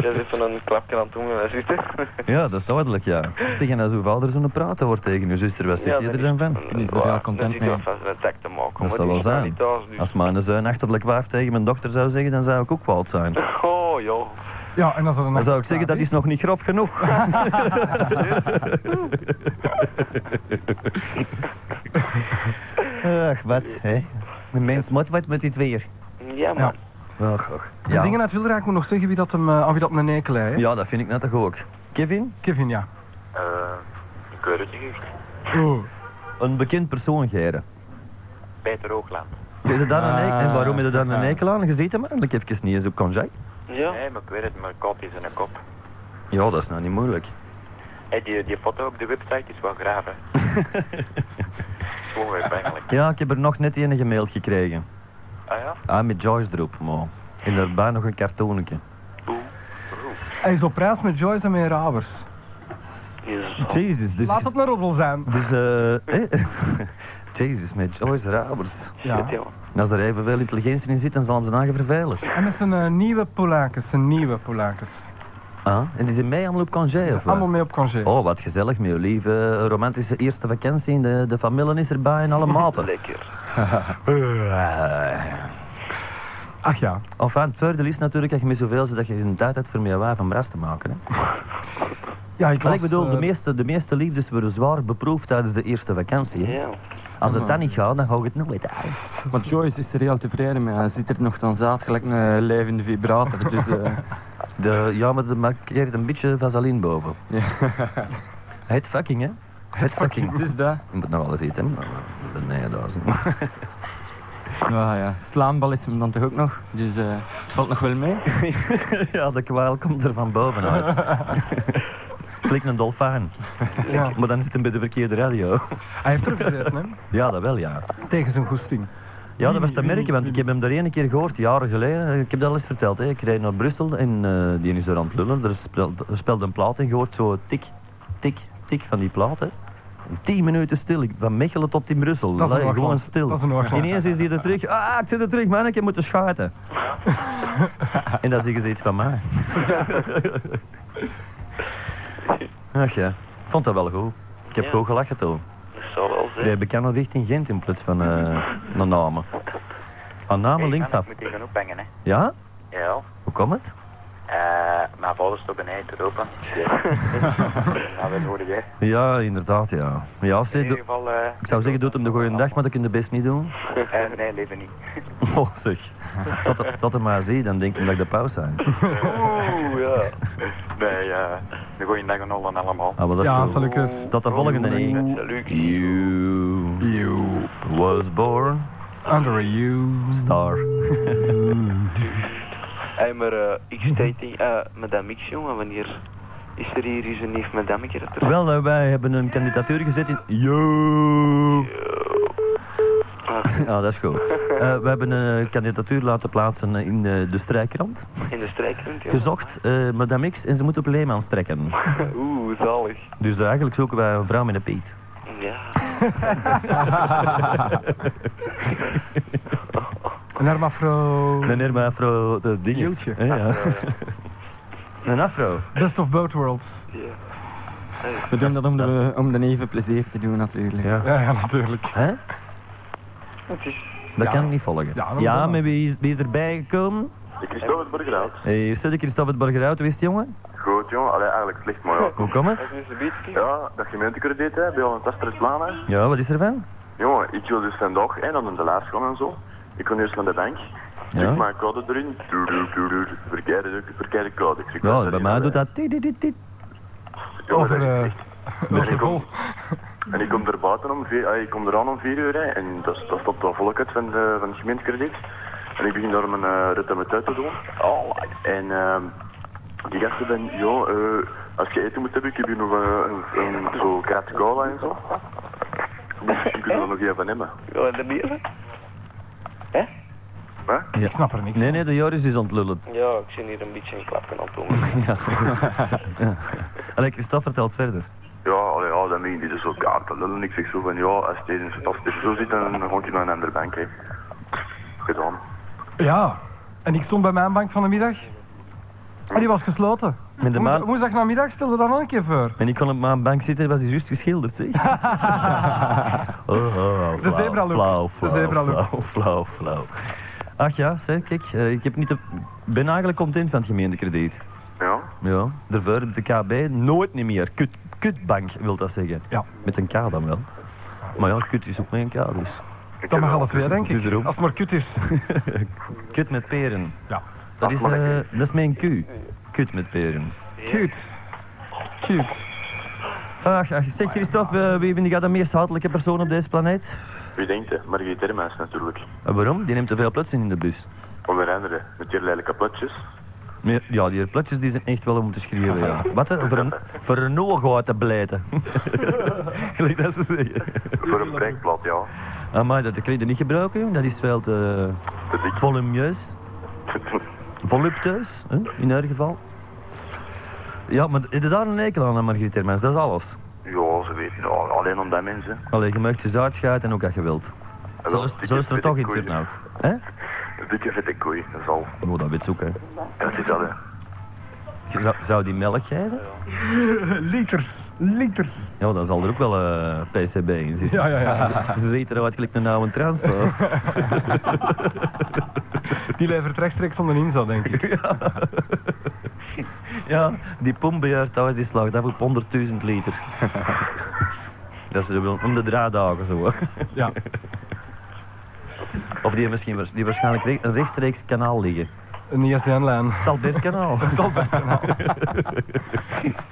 Speaker 2: dat is even een klapje aan het doen met mijn zuster.
Speaker 1: ja, dat is duidelijk, ja. Zeg, en als uw vader zo'n praten wordt tegen uw zuster, wat zegt hij er dan van?
Speaker 3: Die is er heel content
Speaker 2: Dat
Speaker 3: mee.
Speaker 2: is vast een tak te maken. maar
Speaker 1: zal
Speaker 2: die
Speaker 1: wel
Speaker 2: is nou
Speaker 1: zijn.
Speaker 2: niet thuis, dus.
Speaker 1: Als mijn zoon achterlijk wijf tegen mijn dochter zou zeggen, dan zou ik ook kwaad zijn.
Speaker 2: Oh, joh.
Speaker 4: Ja, en als er een
Speaker 1: Dan zou ik zeggen, dat is nog niet grof genoeg. Ach, wat, hè. Een mens moet wat met dit weer.
Speaker 2: Ja, man.
Speaker 1: Ach, ach.
Speaker 4: De dingen
Speaker 1: Ja.
Speaker 4: uit Wilderijk moet nog zeggen wie dat hem, eh, aan wie dat een nekel hè?
Speaker 1: ja, dat vind ik net toch ook. Kevin?
Speaker 4: Kevin, ja.
Speaker 2: Eh, ik weet het niet.
Speaker 4: Oeh.
Speaker 1: Een bekend persoon, Geire.
Speaker 2: Peter Hoogland.
Speaker 1: Heb je daar een eik- en waarom heb je daar een
Speaker 3: Ah.
Speaker 1: eikel aan gezeten, man? Ik even niet eens op konjak.
Speaker 2: Ja? Nee, maar ik weet het, mijn kop is in een kop.
Speaker 1: Ja, dat is nou niet moeilijk.
Speaker 2: Hey, die, die foto op de website is wel graaf, hè. Gewoon weer eigenlijk.
Speaker 1: Ja, ik heb er nog net een gemaild gekregen.
Speaker 2: Ah ja?
Speaker 1: Ah, met Joyce erop, maar. En daarbij nog een cartoonnetje.
Speaker 2: Oeh. Oeh.
Speaker 4: Hij is op reis met Joyce en met Rabers.
Speaker 2: Jezus.
Speaker 1: Jezus, dus...
Speaker 4: Laat het een roddel zijn.
Speaker 1: Dus, eh... eh, Jezus, met Joyce Rabers.
Speaker 4: Ja.
Speaker 2: Shit, joh.
Speaker 1: En als er evenveel intelligentie in zit, dan zal hem zijn eigen vervelen.
Speaker 4: En dat zijn een nieuwe Polakes, een nieuwe Polakes.
Speaker 1: Ah, en die zijn mee allemaal op congé, of wat?
Speaker 4: Allemaal mee op congé.
Speaker 1: Oh, wat gezellig, mijn lieve. Romantische eerste vakantie. en De, de familie is erbij in alle maten.
Speaker 2: Lekker.
Speaker 4: Ach ja.
Speaker 1: Of aan het voordeel is natuurlijk dat je met zoveel zit dat je geen tijd hebt voor meer wijf om ras te maken. Hè?
Speaker 4: ja ik,
Speaker 1: Maar ik
Speaker 4: las,
Speaker 1: bedoel, de
Speaker 4: eh,
Speaker 1: meeste, de meeste liefdes worden zwaar beproefd tijdens de eerste vakantie. hè.
Speaker 2: Ja.
Speaker 1: Als het dan niet gaat, dan ga ik het nooit uit.
Speaker 3: Maar Joyce is er heel tevreden mee. Hij zit er nog dan zaad gelijk een eh, levende vibrator. Dus eh,
Speaker 1: De, ja, maar dat markeert een beetje vaseline boven.
Speaker 3: Ja.
Speaker 1: Het fucking, hè? Het
Speaker 3: het
Speaker 1: fucking.
Speaker 3: is dat.
Speaker 1: Je moet nog wel eens eten, hè? Nee, daar is
Speaker 3: Nou ja, slaambal is hem dan toch ook nog. Dus eh, het valt nog wel mee.
Speaker 1: Ja, de kwaal komt er van bovenuit. Klik een dolfijn.
Speaker 4: ja.
Speaker 1: Maar dan zit hem bij de verkeerde radio.
Speaker 4: Hij heeft teruggezet, hè?
Speaker 1: Ja, dat wel, ja.
Speaker 4: Tegen zijn goesting.
Speaker 1: Ja, dat was te merken, want ik heb hem daar ene keer gehoord, jaren geleden. Ik heb dat al eens verteld. Hè. Ik reed naar Brussel en eh, die is daar aan het lullen. Er speelt, er speelt een plaat en je hoort zo tik, tik, tik van die plaat. Hè. Tien minuten stil, Ik- van Mechelen tot in Brussel.
Speaker 4: Dat is een
Speaker 1: Allee,
Speaker 4: oorlog.
Speaker 1: gewoon stil.
Speaker 4: Dat is een oorlog.
Speaker 1: Ineens is hij er terug. Ah, ik zit er terug, man, ik heb moeten schuiten. en dan zeggen ze iets van mij. Ach ja, ik vond dat wel goed. Ik heb
Speaker 2: Ja.
Speaker 1: gewoon gelachen toen.
Speaker 2: Dat zou wel
Speaker 1: Ik
Speaker 2: zijn.
Speaker 1: reed bekend richting Gent in plaats van eh naar Namen. Aan Namen
Speaker 2: Hey,
Speaker 1: linksaf.
Speaker 2: Ik moet hier gaan ophangen, hè.
Speaker 1: Ja?
Speaker 2: Ja.
Speaker 1: Hoe komt het?
Speaker 2: Eh, mijn vader stond beneden te roepen. nou, dat hoorde jij.
Speaker 1: Ja, inderdaad, ja. ja ze,
Speaker 2: In ieder
Speaker 1: doe-
Speaker 2: geval... eh,
Speaker 1: ik zou zeggen, doe het hem de goede dag, maar dat kun je best niet doen.
Speaker 2: Eh, nee, liever niet.
Speaker 1: Oh, zeg. Tot, tot hem maar zie, dan denk ik dat ik de paus zijn. Ah,
Speaker 2: Oeh, ja. Nee, eh, de goeie dag en al en allemaal.
Speaker 1: Ah, maar dat is
Speaker 4: Ja,
Speaker 1: goed.
Speaker 4: zal ik eens.
Speaker 1: Tot de volgende
Speaker 2: Oeh,
Speaker 1: niet.
Speaker 2: Salut.
Speaker 1: You
Speaker 4: You,
Speaker 1: was born
Speaker 4: under a you.
Speaker 1: star.
Speaker 2: Hey, maar eh, ik steed die, eh, madame X, jongen, wanneer is er hier eens een neef madame dat er
Speaker 1: Wel, eh, wij hebben een kandidatuur gezet in... You. Ja, Ah, dat is goed. Eh, we hebben een kandidatuur laten plaatsen in eh, de strijkrand.
Speaker 2: in de strijk rond, ja?
Speaker 1: Gezocht, eh, madame X, en ze moet op Leemans trekken.
Speaker 2: Oeh, zalig.
Speaker 1: Dus eigenlijk zoeken wij een vrouw met een piet.
Speaker 2: Ja.
Speaker 4: Een hermafro.
Speaker 1: Een hermafro, de dinges.
Speaker 4: Joeltje.
Speaker 1: Eh, ja. Een afro.
Speaker 4: Best of both worlds.
Speaker 2: Ja. Hey,
Speaker 3: We doen dat om de, om de even plezier te doen natuurlijk.
Speaker 1: Ja.
Speaker 4: Ja, ja, natuurlijk.
Speaker 1: Hè?
Speaker 2: het is...
Speaker 1: Dat
Speaker 4: Ja.
Speaker 1: kan ik niet volgen.
Speaker 4: Ja,
Speaker 1: Ja,
Speaker 4: dat moet wel.
Speaker 1: maar wie is, wie is erbij gekomen?
Speaker 6: Ik is Robert Burgerhout.
Speaker 1: Hey, Hier zit ik, Christophe het Borgerhout, wist je, jongen?
Speaker 6: Goed jongen, Allee, eigenlijk slecht maar ja.
Speaker 1: Hoe komt het?
Speaker 2: Het is een beetje...
Speaker 6: Ja, dat gemeentekrediet hè, bij ons Planen.
Speaker 1: Ja, wat is er van?
Speaker 6: Jongen, ik wil dus vandaag hè, naar de laars gaan en zo. Ik kon eerst naar de bank.
Speaker 1: Ja.
Speaker 6: Ik maak code erin. Doe, doe, doe, doe. Verkeerde, verkeerde code. Ik zeg, wat
Speaker 1: Ja,
Speaker 6: is
Speaker 1: bij
Speaker 6: dat
Speaker 1: mij
Speaker 6: hier
Speaker 1: doet
Speaker 6: nou,
Speaker 1: dat tit, tit, tit, tit.
Speaker 6: hè?
Speaker 1: Oh,
Speaker 6: Jongen,
Speaker 4: Over,
Speaker 6: dat is
Speaker 4: eh
Speaker 6: echt-
Speaker 4: over de vol.
Speaker 6: En ik kom er buiten om vier, ah, ik kom eraan om vier uur hè, en dat, dat stopt wel volk uit van, de, van het gemeentekrediet. En ik begin daar mijn uh, uit te doen. Alright. En ehm die gasten van, joh, eh, als je eten moet hebben, ik heb hier nog eh, een, een zo krat cola en zo. Misschien kunnen we er nog even van hebben.
Speaker 2: Wil je er niet hebben?
Speaker 6: Hè?
Speaker 4: Ik snap er niks
Speaker 1: Nee, nee, de Joris is ontlullend.
Speaker 2: Ja, ik zit hier een beetje in klappen aan het doen.
Speaker 1: Allee, Christophe vertelt verder.
Speaker 6: Ja, allee, ja, dan begint die dus ook aan te lullen. Ik zeg zo van, ja, als het hier, als het hier zo zit, dan ga ik naar een andere bank. Hè. Gedaan.
Speaker 4: Ja. En ik stond bij mijn bank van de middag. En die was gesloten.
Speaker 1: Met de
Speaker 4: Woensdag,
Speaker 1: maan-
Speaker 4: woensdag namiddag stelde dat nog een keer voor.
Speaker 1: En ik kon op mijn bank zitten, was hij juist geschilderd, zeg. Oh, oh, oh, flauw,
Speaker 4: zebralook.
Speaker 1: Flauw,
Speaker 4: De
Speaker 1: flauw,
Speaker 4: zebralook.
Speaker 1: flauw, flauw, flauw. Ach ja, zeg, kijk, eh, ik heb niet de- ben eigenlijk content van het gemeentekrediet.
Speaker 6: Ja.
Speaker 1: Ja, daarvoor heb de KB nooit niet meer. Kut, kutbank wil dat zeggen.
Speaker 4: Ja.
Speaker 1: Met een K dan wel. Maar ja, kut is ook met een K dus.
Speaker 6: Ik
Speaker 4: Dat
Speaker 6: heb
Speaker 4: mag
Speaker 6: wel-
Speaker 4: alle twee, denk
Speaker 1: Dus
Speaker 4: ik.
Speaker 1: erom.
Speaker 4: Als het maar kut is.
Speaker 1: Kut met peren.
Speaker 4: Ja.
Speaker 1: Dat is, eh, dat is mijn Q. Kut met peren.
Speaker 4: Cute. Cute.
Speaker 1: Ach, ach zeg Christophe, eh, wie vind jij de meest hatelijke persoon op deze planeet? Eh,
Speaker 6: Wie denkt, hè? Margriet Hermans natuurlijk.
Speaker 1: En waarom? Die neemt te veel plaats in in de bus.
Speaker 6: Onder andere met die lelijke platjes.
Speaker 1: Maar ja, die platjes die zijn echt wel om te schreeuwen, ja. Wat, hè? Voor een, voor een oog uit te blijten. Gelijk dat ze zeggen.
Speaker 6: Voor een breekblad, ja.
Speaker 1: Amai, dat kun je niet gebruiken, jong. dat is veel te
Speaker 6: Te dik.
Speaker 1: volumieus. Voluptueus, hè? in haar geval. Ja, maar heb je daar een ekel aan, aan Margriet Hermans? Dat is alles.
Speaker 6: Ja, ze weten. Ja, alleen om dat mensen.
Speaker 1: Allee, je mag ze uitschuiten en ook als je wilt.
Speaker 6: wel,
Speaker 1: Zo is,
Speaker 6: die
Speaker 1: zo is er
Speaker 6: vind
Speaker 1: toch
Speaker 6: ik
Speaker 1: in
Speaker 6: goed.
Speaker 1: turnout. Hè?
Speaker 6: Een dikke vette koei, dat is al.
Speaker 1: Oh, dat weet zoeken.
Speaker 6: Dat is dat, hè.
Speaker 1: Zou, zou die melk geven?
Speaker 4: Liters, liters.
Speaker 1: Ja, dan zal er ook wel eh, PCB in zitten.
Speaker 4: Ja, ja, ja.
Speaker 1: Ze ziet eruit gelijk een oude transfer.
Speaker 4: Die levert rechtstreeks aan de inzet, denk ik.
Speaker 1: ja, die pomp bij haar thuis die slaagt af op 100.000 liter. dat is wel om de drie dagen zo. hè.
Speaker 4: Ja.
Speaker 1: Of die misschien waars- die waarschijnlijk re- een rechtstreeks kanaal liggen.
Speaker 4: Een ISDN-lijn.
Speaker 1: Het Albertkanaal.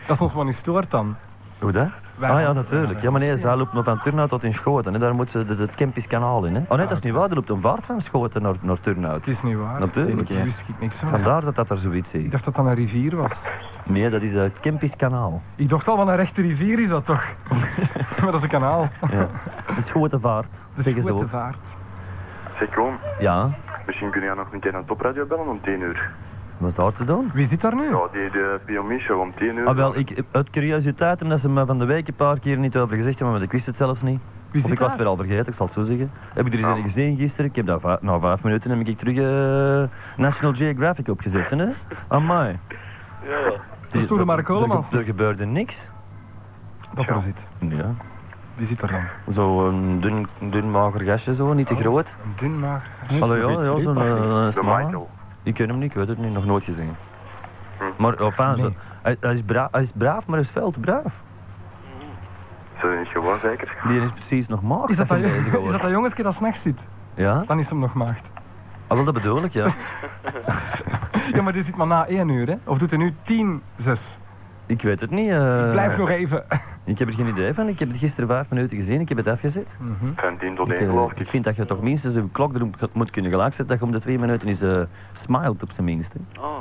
Speaker 4: Dat is ons maar niet stoort dan.
Speaker 1: Hoe dat?
Speaker 4: Wij
Speaker 1: ah ja,
Speaker 4: gaan-
Speaker 1: natuurlijk. Ja, maar nee, zij loopt nog van Turnhout tot in Schoten. Hè. Daar moet ze de- het Kempisch kanaal in. Hè. Oh nee, dat is niet waar. Er loopt een vaart van Schoten naar, naar
Speaker 4: Het
Speaker 1: Turnhout.
Speaker 4: is niet waar.
Speaker 1: Natuurlijk,
Speaker 4: Daar
Speaker 1: ja.
Speaker 4: wist ik niks van.
Speaker 1: Vandaar dat dat er zoiets
Speaker 4: Ik
Speaker 1: is.
Speaker 4: dacht dat dat een rivier was.
Speaker 1: Nee, dat is eh, het Kempisch kanaal.
Speaker 4: Ik dacht al, van een rechte rivier is dat toch? maar dat is een kanaal.
Speaker 1: Ja. De Schotenvaart,
Speaker 4: De
Speaker 1: zeggen ze ook.
Speaker 4: Schotenvaart.
Speaker 6: Zeg gewoon,
Speaker 1: Ja,
Speaker 6: misschien kun jij nog een keer aan topradio bellen om 10 uur.
Speaker 1: wat is daar te doen?
Speaker 4: Wie zit daar nu?
Speaker 6: Ja, die de PMI-show om 10 uur.
Speaker 1: Ah, wel, ik, uit curiositeit, omdat ze me van de week een paar keer niet over gezegd hebben, maar ik wist het zelfs niet.
Speaker 4: Wie
Speaker 1: of
Speaker 4: zit
Speaker 1: ik was
Speaker 4: daar?
Speaker 1: weer al vergeten, ik zal het zo zeggen. Heb ik er eens
Speaker 6: Ja.
Speaker 2: Ah.
Speaker 1: een gezien gisteren? Ik heb daar va- na vijf minuten heb ik terug eh, National Geographic opgezet. Hè? Amai.
Speaker 2: Ja,
Speaker 1: Die-
Speaker 4: is door de Mark Holemans.
Speaker 1: Er, er gebeurde niks.
Speaker 4: Dat er zit.
Speaker 1: Ja.
Speaker 4: Wie zit er dan?
Speaker 1: Zo'n dun, dun mager gastje, zo, niet te
Speaker 4: Oh.
Speaker 1: groot.
Speaker 4: Een dun mager.
Speaker 1: Hallo, ja,
Speaker 3: nog
Speaker 1: ja,
Speaker 3: iets
Speaker 1: zo'n
Speaker 3: vreemd,
Speaker 1: eh,
Speaker 6: De
Speaker 1: smalle.
Speaker 6: Michael.
Speaker 1: Ik ken hem niet, ik weet het niet, nog nooit gezien.
Speaker 2: Hm.
Speaker 1: Maar enfin, zo- hij, hij, is bra- hij is braaf, maar hij is veel te braaf.
Speaker 6: Zijn we niet gewoon zeker?
Speaker 1: Die is precies nog mager.
Speaker 4: Is dat dat,
Speaker 1: je
Speaker 4: jong-
Speaker 1: bezig
Speaker 4: is dat
Speaker 1: wordt.
Speaker 4: dat jongetje dat s'nachts zit?
Speaker 1: Ja,
Speaker 4: Dan is hem nog maagd.
Speaker 1: ah, wel, dat bedoel ik, ja.
Speaker 4: Ja, maar die zit maar na één uur, hè? Of doet hij nu tien, zes?
Speaker 1: Ik weet het niet. eh,
Speaker 4: Blijf nog even.
Speaker 1: Ik heb er geen idee van. Ik heb het gisteren vijf minuten gezien. Ik heb het afgezet.
Speaker 4: Mhm.
Speaker 6: Van 10 tot
Speaker 1: Ik,
Speaker 6: 1
Speaker 1: eh,
Speaker 6: geloof
Speaker 1: ik
Speaker 6: ik.
Speaker 1: vind dat je toch minstens een klok erop moet kunnen gelijkzetten. Dat je om de twee minuten is eh smiled op zijn minst. Hè.
Speaker 2: oh,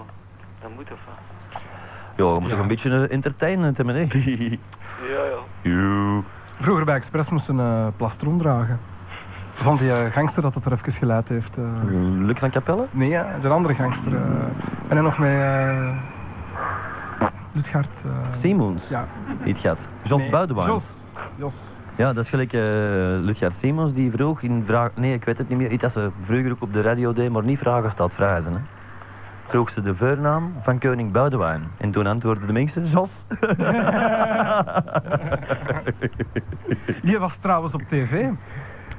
Speaker 2: dat moet of wat?
Speaker 1: Ja, je moet toch een beetje eh, entertainment hebben, hè?
Speaker 2: Ja, ja.
Speaker 1: Joe.
Speaker 4: Vroeger bij Express moest een eh, plastron dragen. Van die eh, gangster dat het er even geleid heeft. eh.
Speaker 1: Luc van Capelle?
Speaker 4: Nee, hè, de andere gangster. eh. en dan nog met... eh Ludgard... eh,
Speaker 1: Simons?
Speaker 4: Ja.
Speaker 1: Niet gaat. Jos
Speaker 4: nee,
Speaker 1: Boudewijn.
Speaker 4: Jos. Jos.
Speaker 1: Ja, dat is gelijk eh Lutgaard Simons die vroeg in vraag... Nee, ik weet het niet meer. Iets dat ze vroeger ook op de radio deed, maar niet vragen staat vragen. Hè. Vroeg ze de voornaam van koning Boudewijn. En toen antwoordden de mensen, Jos.
Speaker 4: Die was trouwens op tv.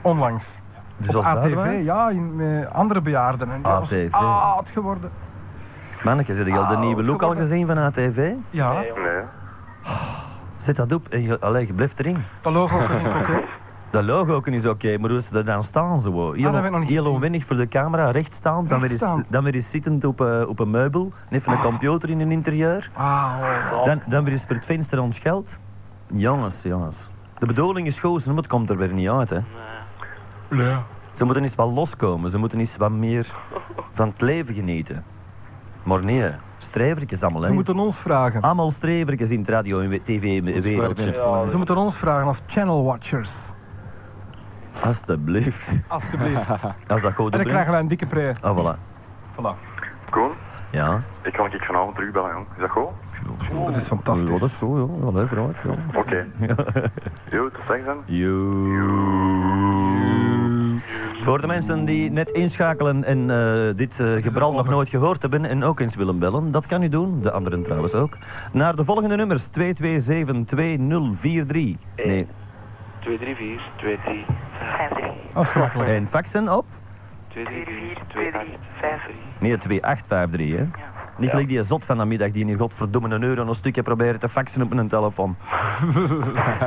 Speaker 4: Onlangs.
Speaker 1: Dus
Speaker 4: Op
Speaker 1: Jos
Speaker 4: ATV,
Speaker 1: Boudewijn?
Speaker 4: ja, in, met andere bejaarden. En die
Speaker 1: ATV.
Speaker 4: was oud geworden.
Speaker 1: Manneke, zit je al de
Speaker 4: Ah,
Speaker 1: nieuwe look al
Speaker 4: geworden.
Speaker 1: gezien van ATV?
Speaker 4: Ja,
Speaker 2: Nee,
Speaker 6: Nee.
Speaker 1: Zet dat op en je, allee, je blijft erin.
Speaker 4: dat logo ook in oké.
Speaker 1: Dat logo ook is oké, maar hoe ze dat dan staan zo? Heel,
Speaker 4: Ah, dat heb ik nog niet
Speaker 1: heel
Speaker 4: gezien.
Speaker 1: onwennig voor de camera, rechtstaand, dan weer eens,
Speaker 4: Rechtstaand.
Speaker 1: dan weer eens zittend op, eh, op een meubel, even een computer in een interieur.
Speaker 4: Ah, oh.
Speaker 1: Dan, dan weer eens voor het venster ons geld. Jongens, jongens. De bedoeling is goed, maar het komt er weer niet uit. Hè.
Speaker 4: Ja.
Speaker 1: Ze moeten eens wat loskomen, ze moeten eens wat meer van het leven genieten. Maar nee, strevertjes allemaal.
Speaker 4: Ze
Speaker 1: hè.
Speaker 4: moeten ons vragen.
Speaker 1: Allemaal strevertjes in het radio en tv-wereldje.
Speaker 2: Ja,
Speaker 4: Ze moeten ons vragen als channel watchers.
Speaker 1: Alsjeblieft.
Speaker 4: Alsjeblieft. en
Speaker 1: Als dat goed
Speaker 4: dan krijgen
Speaker 1: brengt.
Speaker 4: wij een dikke pre.
Speaker 1: Ah, voilà.
Speaker 4: Voilà.
Speaker 6: Koen,
Speaker 1: Ja.
Speaker 6: ik kan ik vanavond terugbellen, jong. Is dat goed?
Speaker 4: Dat is
Speaker 1: Ja, Oh. dat is
Speaker 4: fantastisch.
Speaker 1: zo, joh. Wel, hè, vooruit, joh.
Speaker 6: Oké. Jo, tot straks dan.
Speaker 1: Voor de mensen die net inschakelen en eh, dit eh, gebral nog nooit gehoord hebben en ook eens willen bellen, dat kan u doen, de anderen trouwens ook, naar de volgende nummers 2272043. Nee.
Speaker 2: 2, 3, 4, 2, 3,
Speaker 4: Afsmakelijk.
Speaker 1: En faxen op?
Speaker 2: 2, 3, 4, 2, 8, 5, 3.
Speaker 1: Nee, 2853, hè? Niet gelijk die zot van de middag die in hier godverdomme een euro een stukje proberen te faxen op een telefoon.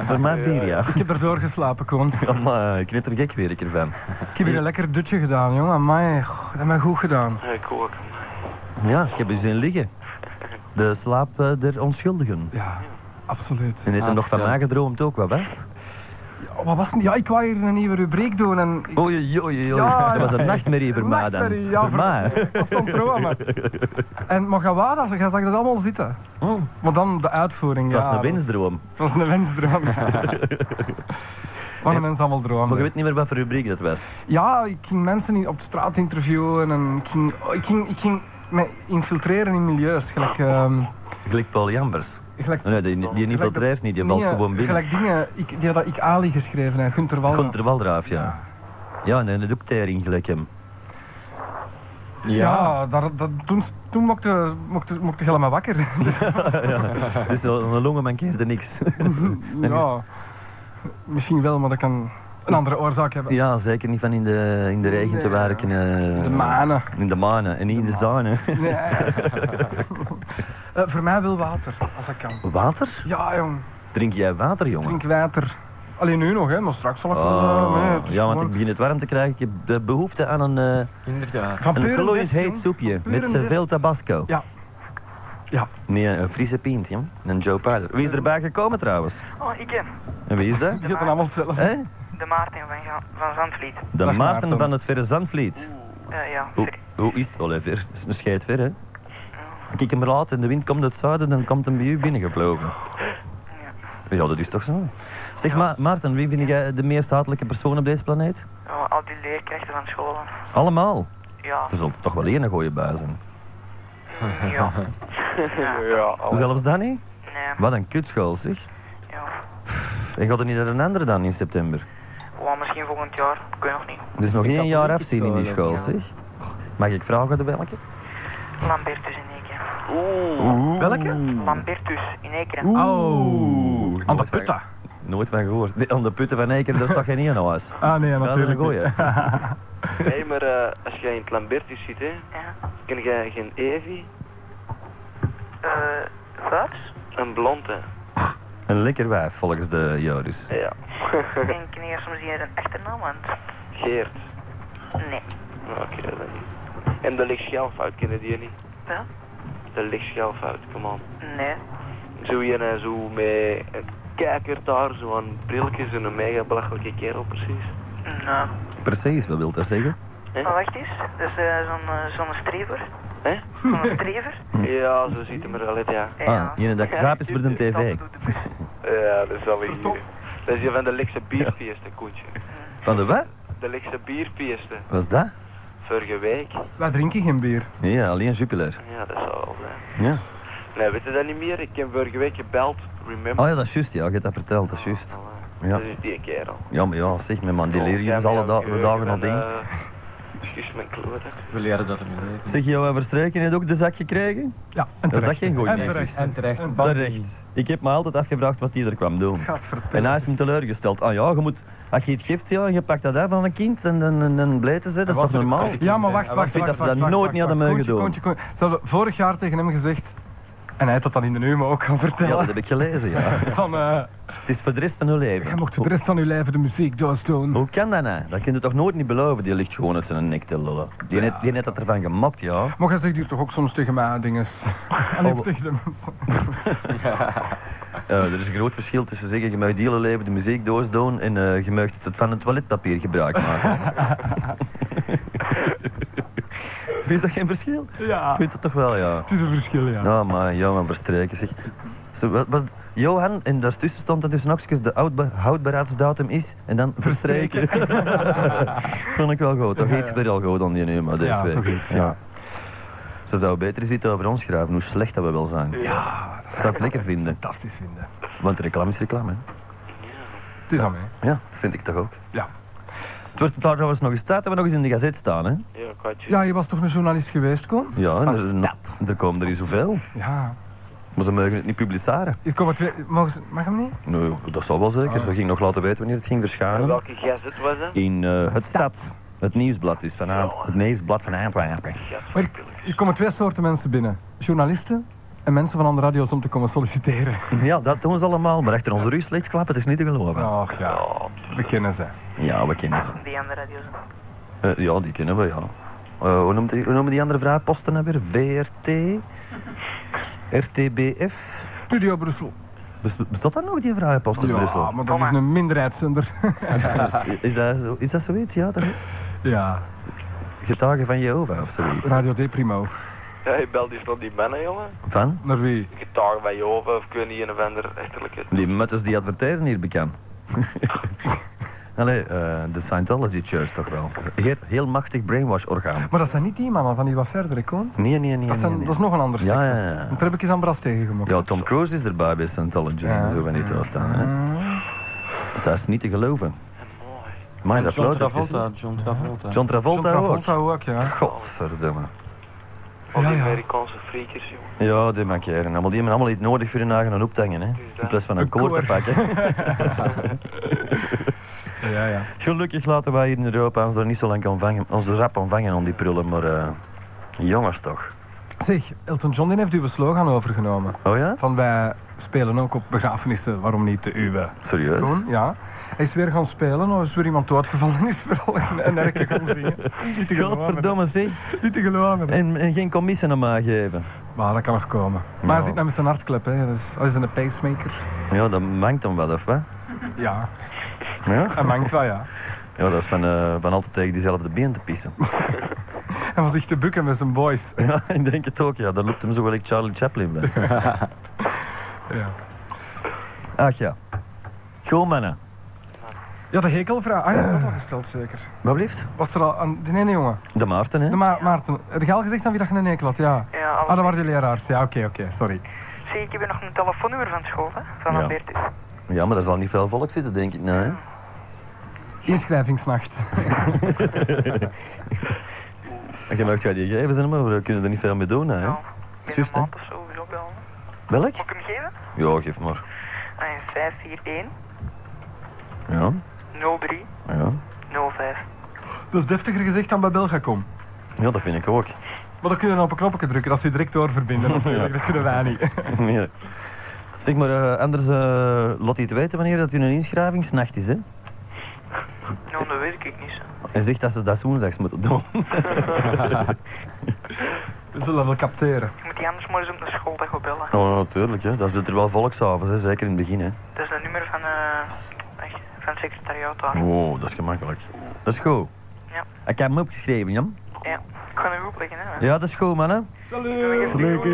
Speaker 1: Voor mij bier, ja.
Speaker 4: Ik heb erdoor geslapen, Koen.
Speaker 1: Amai, ik net er gek weer ik ervan.
Speaker 4: Ik heb hier een lekker dutje gedaan, jongen. Amai, goh, dat heb mij goed gedaan.
Speaker 2: Ja, ik ook.
Speaker 1: Ja, ik heb u zien liggen. De slaap eh, der onschuldigen.
Speaker 4: Ja, absoluut.
Speaker 1: En heeft er nog van
Speaker 3: Uitgeteld.
Speaker 1: nagedroomd ook, wat best?
Speaker 4: Ja, wat was het? Ja, ik wou hier een nieuwe rubriek doen en... ik-
Speaker 1: Oei, oei, oei. oei.
Speaker 4: Ja,
Speaker 1: Dat was een
Speaker 4: ja.
Speaker 1: nachtmerrie voor mij dan.
Speaker 4: Nachtmerrie, ja,
Speaker 1: voor Hm,
Speaker 4: voor-
Speaker 1: mij.
Speaker 4: Dat stond er ook aan, maar. En maar ga waar, dat- jij zag dat allemaal zitten.
Speaker 1: Oh.
Speaker 4: Maar dan de uitvoering,
Speaker 1: Het was
Speaker 4: ja,
Speaker 1: een
Speaker 4: dat-
Speaker 1: wensdroom.
Speaker 4: Het was een wensdroom. Wat een mens allemaal
Speaker 1: Maar je
Speaker 4: dromen.
Speaker 1: weet niet meer wat voor rubriek dat was.
Speaker 4: Ja, ik ging mensen in- op de straat interviewen en ik ging, oh, ik ging, ik ging me infiltreren in milieus. Gelijk, ehm,
Speaker 1: Gelijk Paul Jambers.
Speaker 4: gelijk,
Speaker 1: Nee, die, die infiltreert niet, die valt
Speaker 4: Nee,
Speaker 1: gewoon binnen.
Speaker 4: Gelijk dingen ik, die had ik Ali geschreven en Gunther Wallen.
Speaker 1: Gunther Walraaf, ja. Ja, nee, dat ook tering gelijk hem.
Speaker 4: Ja, daar, dat, toen, toen mocht mocht mocht helemaal wakker. Dus,
Speaker 1: Dus een longen mankeerde niks.
Speaker 4: ja, misschien wel, maar dat kan een andere oorzaak hebben.
Speaker 1: Ja, zeker niet van in de, in de regen te
Speaker 4: Nee.
Speaker 1: werken. eh,
Speaker 4: De manen.
Speaker 1: In de manen en niet in de zone.
Speaker 4: Nee. Eh, voor mij wil water, als dat kan.
Speaker 1: Water?
Speaker 4: Ja, jong.
Speaker 1: Drink jij water, jongen?
Speaker 4: Drink water. Alleen nu nog, hè, maar straks zal ik wel. eh, nee,
Speaker 1: Oh,
Speaker 4: het is
Speaker 1: ja, want ik
Speaker 4: gewoon-
Speaker 1: begin het warm te krijgen. Ik heb de behoefte aan een, eh
Speaker 3: Inderdaad.
Speaker 4: Van
Speaker 1: een
Speaker 4: puur
Speaker 1: glooiend
Speaker 4: best,
Speaker 1: heet
Speaker 4: jong.
Speaker 1: soepje
Speaker 4: Van puur
Speaker 1: met
Speaker 4: een
Speaker 1: zoveel
Speaker 4: best.
Speaker 1: tabasco.
Speaker 4: Ja. Ja.
Speaker 1: Nee, een Friese pint, jong. Een Joe Paarder. Wie is erbij gekomen trouwens?
Speaker 7: Oh, ik ken.
Speaker 1: En wie is dat?
Speaker 4: Je hebt het allemaal zelf.
Speaker 1: Hé?
Speaker 7: De Maarten van, Ga- van Zandvliet.
Speaker 1: De
Speaker 4: Dag,
Speaker 1: Maarten
Speaker 4: Maarten.
Speaker 1: van het Verre Zandvliet.
Speaker 7: Eh, ja,
Speaker 1: Hoe, hoe is het, Oliver? Dat is een scheid ver, hè? Als ik hem laat en de wind komt uit het zuiden, dan komt hem bij u binnengevlogen. Ja, dat is toch zo. Zeg, maar, Maarten, wie vind jij de meest hatelijke persoon op deze planeet?
Speaker 7: ja, Oh, al die leerkrachten van scholen.
Speaker 1: Allemaal.
Speaker 7: Ja,
Speaker 1: Er zult er toch wel één gooie bij zijn.
Speaker 7: ja,
Speaker 2: Ja, al.
Speaker 1: Zelfs dan niet?
Speaker 7: nee,
Speaker 1: Wat een kutschool, zeg.
Speaker 7: ja.
Speaker 1: En gaat er niet naar een andere dan in september?
Speaker 7: Wel, Oh, misschien volgend jaar, ik weet nog niet.
Speaker 1: Dus nog
Speaker 3: de
Speaker 1: één jaar
Speaker 3: katholieke
Speaker 1: afzien in die
Speaker 3: school,
Speaker 1: school, zeg. Mag ik vragen de welke?
Speaker 7: Lambertus in Ekeren.
Speaker 4: Welke?
Speaker 7: Lambertus in Ekeren.
Speaker 4: Oh, aan de
Speaker 1: Nooit van-
Speaker 4: putta.
Speaker 1: Nooit van gehoord. Nee, Aan de putten van Eiker, daar is toch geen één nou huis?
Speaker 4: Ah nee,
Speaker 1: Dat is een
Speaker 4: natuurlijk. niet.
Speaker 1: gooie.
Speaker 2: Hé, maar eh, als jij in het Lambertus zit, hè,
Speaker 7: Ja.
Speaker 2: ken jij geen Evi?
Speaker 7: Eh,
Speaker 1: Oh.
Speaker 7: wat?
Speaker 2: Een blonde.
Speaker 1: Een lekker wijf, volgens de Joris.
Speaker 2: Ja.
Speaker 7: En ken je soms hier een achternaam, want...
Speaker 2: Geert.
Speaker 7: Nee.
Speaker 2: Nou, Oké, dat weet ik niet. En de lichtschelfout, kennen die je niet?
Speaker 7: Ja?
Speaker 2: De lichtschelfout, come on.
Speaker 7: Nee.
Speaker 2: Zo je en zo met een kijker daar, zo'n brilletjes en een mega belachelijke kerel precies.
Speaker 7: Nee.
Speaker 1: Precies, wat wil dat zeggen?
Speaker 7: Maar Oh, wacht eens, dat is eh, zo'n eh, zo'n strever.
Speaker 2: Hè?
Speaker 7: Zo'n strever.
Speaker 2: Ja, zo ziet hem er wel uit, ja.
Speaker 7: Ja. Dus
Speaker 1: Ah, jene dat graap is voor de tv.
Speaker 2: Ja, dat is wel hier. Dat is hier van de Likse bierpiesten, koentje.
Speaker 1: Van de wat?
Speaker 2: De Likse bierpiesten,
Speaker 1: Wat is dat?
Speaker 2: vorige week.
Speaker 4: Wij drinken geen bier.
Speaker 1: Ja, alleen Jupiler.
Speaker 2: Ja, dat zal wel zijn.
Speaker 1: Ja.
Speaker 2: Nee, weet je dat niet meer? Ik heb vorige week gebeld, remember?
Speaker 1: Oh ja, dat is juist, ja. Je hebt dat verteld, dat is juist. Ja.
Speaker 2: Dat is die kerel.
Speaker 1: Ja, maar ja, zeg me man, delirium
Speaker 4: dus
Speaker 1: is
Speaker 2: Oh, Ja,
Speaker 1: alle
Speaker 2: maar
Speaker 1: da-
Speaker 2: ja,
Speaker 1: de dagen
Speaker 2: ik
Speaker 1: al
Speaker 2: ben,
Speaker 1: ding.
Speaker 2: eh, Excuus mijn kloten.
Speaker 3: We leren dat hem in leven.
Speaker 1: Zeg, jouw verstreken heeft ook de zak gekregen?
Speaker 4: Ja, en
Speaker 1: Dat is dat
Speaker 4: terecht.
Speaker 1: geen goeie
Speaker 4: En
Speaker 1: reacties.
Speaker 4: terecht.
Speaker 3: En terecht.
Speaker 4: En
Speaker 3: Bambi.
Speaker 1: Terecht. Ik heb me altijd afgevraagd wat die er kwam doen.
Speaker 4: Gaat vertellen.
Speaker 1: En hij is hem teleurgesteld. Ah ja, je moet, als je het geeft ja, en je pakt dat af van een kind en dan, dan, dan blijft ze, dat is toch
Speaker 3: was er ook
Speaker 1: normaal?
Speaker 3: altijd.
Speaker 4: Ja, maar wacht,
Speaker 3: Hij
Speaker 4: wacht,
Speaker 1: vindt dat
Speaker 4: wacht,
Speaker 1: ze
Speaker 4: wacht,
Speaker 1: dat
Speaker 4: wacht,
Speaker 1: nooit
Speaker 4: wacht,
Speaker 1: niet hadden
Speaker 4: wacht.
Speaker 1: mogen
Speaker 4: Koontje, Koontje, Koontje. Ze hadden vorig jaar tegen hem gezegd, en hij had dat dan in de Neume ook gaan
Speaker 1: Ja, dat
Speaker 4: vertellen,
Speaker 1: heb ik gelezen, ja.
Speaker 4: van eh,
Speaker 1: Het is voor de rest van hun
Speaker 4: jij
Speaker 1: leven.
Speaker 4: mocht de rest van uw leven de muziek doos doen.
Speaker 1: Hoe kan dat nou? Dat kun je toch nooit niet beloven? Die ligt gewoon uit zijn nek te lullen. Die net, die net dat ervan gemakt, ja.
Speaker 4: Maar jij zegt hier toch ook soms tegen mij ah, dinges. En even tegen de mensen.
Speaker 1: Eh, er is een groot verschil tussen zeggen, je mag die hele leven de muziekdoos doen en eh, je mag het van het toiletpapier gebruik maken. Is dat geen verschil?
Speaker 4: Ja,
Speaker 1: Ik vind het toch wel, ja.
Speaker 4: het is een verschil, ja.
Speaker 1: Ja, maar Johan Verstreken, zeg. Zo, wat was Johan, en daartussen stond dan dus nog eens de oudbe- houdbaarheidsdatum is en dan Verstreken. Vond ik wel goed. Toch iets bij al goed aan die nummer deze
Speaker 4: Ja,
Speaker 1: week.
Speaker 4: toch iets, ja.
Speaker 1: Ze zou beter eens iets over ons schrijven, hoe slecht dat we wel zijn.
Speaker 4: Ja, dat
Speaker 1: Dat zou ik lekker vinden,
Speaker 4: fantastisch vinden.
Speaker 1: want reclame is reclame. hè.
Speaker 4: Het is aan mij.
Speaker 1: Ja, dat vind ik toch ook.
Speaker 4: Ja.
Speaker 1: Het wordt trouwens nog eens tijd dat we nog eens in de gazet staan, hè?
Speaker 2: Ja, kwartje.
Speaker 4: Ja, je was toch een journalist geweest, Koen?
Speaker 1: Ja, en
Speaker 4: Wat
Speaker 1: er,
Speaker 4: is
Speaker 1: is een-
Speaker 4: dat?
Speaker 1: er komen er hier zoveel.
Speaker 4: Ja.
Speaker 1: Maar ze mogen het niet publiceren.
Speaker 4: Hier komen twee... Mogen ze... Mag hem niet?
Speaker 1: Nee, dat zal wel
Speaker 4: Ah.
Speaker 1: zeker. We gingen nog laten weten wanneer het ging verschijnen.
Speaker 2: En welke gazet was dat?
Speaker 1: in eh, het stad. Het nieuwsblad dus van Aant- het nieuwsblad van Antwerpen.
Speaker 4: Maar hier, hier komen twee soorten mensen binnen. Journalisten en mensen van andere radio's om te komen solliciteren.
Speaker 1: Ja, dat doen ze allemaal, maar achter onze rug slecht klappen, het is niet te geloven. Ja,
Speaker 4: Och ja, we kennen ze.
Speaker 1: we kennen ze.
Speaker 7: Die andere radio's.
Speaker 1: Eh, ja, die kennen we, ja. Eh, hoe, noemt die, hoe noemen die andere vraagposten nou weer? VRT? RTBF?
Speaker 4: Studio Brussel.
Speaker 1: Bes- Bestaat dat nog, die vragenpost in
Speaker 4: Ja,
Speaker 1: Brussel?
Speaker 4: maar dat is een minderheidszender.
Speaker 1: Is dat, zo- is dat zoiets, ja? Toch?
Speaker 4: Ja,
Speaker 1: Getuigen van Jehovah of zoiets?
Speaker 4: Radio D Primo.
Speaker 2: Ja, je belt dus nog die mannen, jongen.
Speaker 1: Van?
Speaker 4: Naar wie?
Speaker 2: Gitaar bij Joven of kun je een vender, echtelijk. het.
Speaker 1: Die mutters die adverteren hier bekend. Allee, eh, de Scientology Church toch wel. Heel, heel machtig brainwash-orgaan.
Speaker 4: Maar dat zijn niet die mannen van die wat verder, ik hoor.
Speaker 1: Nee, nee, nee.
Speaker 4: Dat, zijn,
Speaker 1: nee, nee.
Speaker 4: dat is nog een ander
Speaker 1: Ja,
Speaker 4: secte.
Speaker 1: ja, ja.
Speaker 4: Want Daar heb ik eens aan Bras tegengemokt.
Speaker 1: Ja, Tom Cruise is erbij bij Scientology en zo van die toestaan.
Speaker 4: Mm.
Speaker 1: Hè? Dat is niet te geloven. Maar dat
Speaker 3: John
Speaker 1: bloot even.
Speaker 3: Travolta, John Travolta.
Speaker 1: John
Speaker 4: John
Speaker 1: Travolta,
Speaker 4: Travolta
Speaker 1: ook.
Speaker 4: ook, ja.
Speaker 1: Godverdomme.
Speaker 2: Al die
Speaker 4: Ja, ja.
Speaker 2: Amerikaanse freakers, jongen.
Speaker 1: Ja, die makkeren. Allemaal, die hebben allemaal iets nodig voor hun eigen aan op te hangen. Hè? In plaats van een
Speaker 4: Een
Speaker 1: koord te
Speaker 4: koor.
Speaker 1: pakken.
Speaker 4: ja, ja.
Speaker 1: Gelukkig laten wij hier in Europa ons daar niet zo lang ontvangen, ons rap ontvangen om die prullen. Maar eh, jongens toch.
Speaker 4: Zeg, Elton John die heeft uw slogan overgenomen.
Speaker 1: Oh ja?
Speaker 4: Van wij spelen ook op begrafenissen, waarom niet de uwe?
Speaker 1: Serieus?
Speaker 4: Gewoon, ja. Hij is weer gaan spelen, of is weer iemand doodgevallen en is vooral een een erke gaan zingen. Niet te geloven.
Speaker 1: Godverdomme zeg.
Speaker 4: Niet te geloven.
Speaker 1: En, en geen commissie aan mij geven.
Speaker 4: Maar dat kan nog komen. Maar hij zit nou met zijn hartklep, hè. Dat is, dat is een pacemaker.
Speaker 1: Ja, dat mankt hem wat, of wat?
Speaker 4: Ja,
Speaker 1: Ja?
Speaker 4: hij mangt wel, ja.
Speaker 1: Ja, dat is van, eh, van altijd tegen diezelfde been te pissen.
Speaker 4: Hij was zich te bukken met zijn boys.
Speaker 1: Ja, ik denk het ook, ja. Dat loopt hem zo wel ik Charlie Chaplin ben.
Speaker 4: Ja.
Speaker 1: Ach ja. Goh, mannen.
Speaker 4: Ja, de hekelvraag. Ah, ja, dat is al gesteld zeker.
Speaker 1: Wat blijft?
Speaker 4: Was er al aan... Nee, nee, jongen.
Speaker 1: De Maarten, hè?
Speaker 4: De Ma Maarten, heb je al gezegd aan wie dat je een hekel had? Ja.
Speaker 7: Ja,
Speaker 4: Ah,
Speaker 7: alles.
Speaker 4: dat waren de leraars. Ja, oké, oké, sorry.
Speaker 7: Zie, ik heb hier nog een telefoonnummer van school, hè? Van
Speaker 1: Ja.
Speaker 7: Albertus.
Speaker 1: Ja, maar daar zal niet veel volk zitten, denk ik. Nee, hè?
Speaker 4: Inschrijvingsnacht.
Speaker 1: En je mag jou die gegevens hebben, maar we kunnen er niet veel mee doen, hè?
Speaker 7: Ja.
Speaker 1: Juist, hè?
Speaker 7: Binnen een maand of zo, zo bellen.
Speaker 1: Welk?
Speaker 7: Mag ik hem geven?
Speaker 1: Ja, geef maar.
Speaker 7: Ah, ja, 541
Speaker 1: Ja,
Speaker 7: 03
Speaker 1: ja.
Speaker 7: 05.
Speaker 4: Dat is deftiger gezegd dan bij Belgacom.
Speaker 1: Ja, dat vind ik ook.
Speaker 4: Maar dan kunnen we op een knopje drukken als we direct doorverbinden. Natuurlijk, dat kunnen wij niet.
Speaker 1: Nee. Zeg maar, eh, anders eh laat hij het weten wanneer dat hun inschrijvingsnacht is, hè?
Speaker 7: Nou, dat weet ik niet. zo.
Speaker 1: En zegt dat ze dat woensdags moeten doen.
Speaker 4: We zullen wel capteren.
Speaker 7: Je moet die anders maar eens op de schooldag op bellen.
Speaker 1: Oh, natuurlijk, hè. Dan zit er wel volk s'avonds, hè. Zeker in het begin, hè.
Speaker 7: Dat is een nummer van, eh echt, van het secretariaat daar.
Speaker 1: Wow, dat is gemakkelijk. Dat is goed.
Speaker 7: Ja.
Speaker 1: Ik heb hem opgeschreven, Jan.
Speaker 7: Ja. Ik ga hem opleggen, hè.
Speaker 1: Ja, dat is goed, mannen.
Speaker 4: Salut!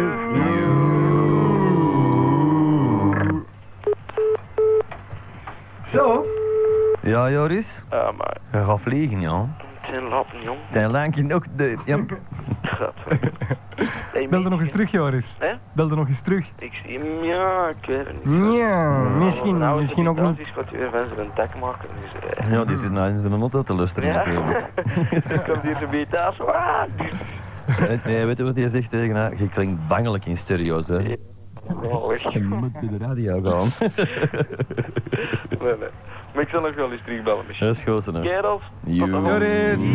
Speaker 4: Zo,
Speaker 1: Ja, Joris.
Speaker 2: Ja, maar
Speaker 1: Je gaat vliegen, ja.
Speaker 2: het zijn lappen, jongen.
Speaker 1: Ten lankje nog de... Ja.
Speaker 2: Gaat weg. Hey,
Speaker 4: bel er
Speaker 2: Mick,
Speaker 4: nog eens terug, Joris.
Speaker 2: Hè?
Speaker 4: Bel er nog eens terug.
Speaker 2: Ik zie hem, ja, ik weet het niet.
Speaker 4: Ja, misschien,
Speaker 2: Nou,
Speaker 4: misschien ook niet.
Speaker 2: Dat is wat weer mensen een dak maken. Dus, eh,
Speaker 1: ja, die zit nou in zijn auto te luisteren
Speaker 2: Ja.
Speaker 1: natuurlijk.
Speaker 2: komt hier de beetje aan, zo, ah, die-
Speaker 1: Eh, Nee, weet je wat hij zegt tegen haar? Je klinkt bangelijk in stereo's, hè.
Speaker 2: Ja. Oh, echt.
Speaker 1: Je moet bij de radio gaan.
Speaker 2: Nee, nee. Maar ik zal nog wel eens terugbellen misschien.
Speaker 1: Dat is goed, hè.
Speaker 2: Kerels,
Speaker 1: Joe.
Speaker 2: tot dan.
Speaker 4: Joris!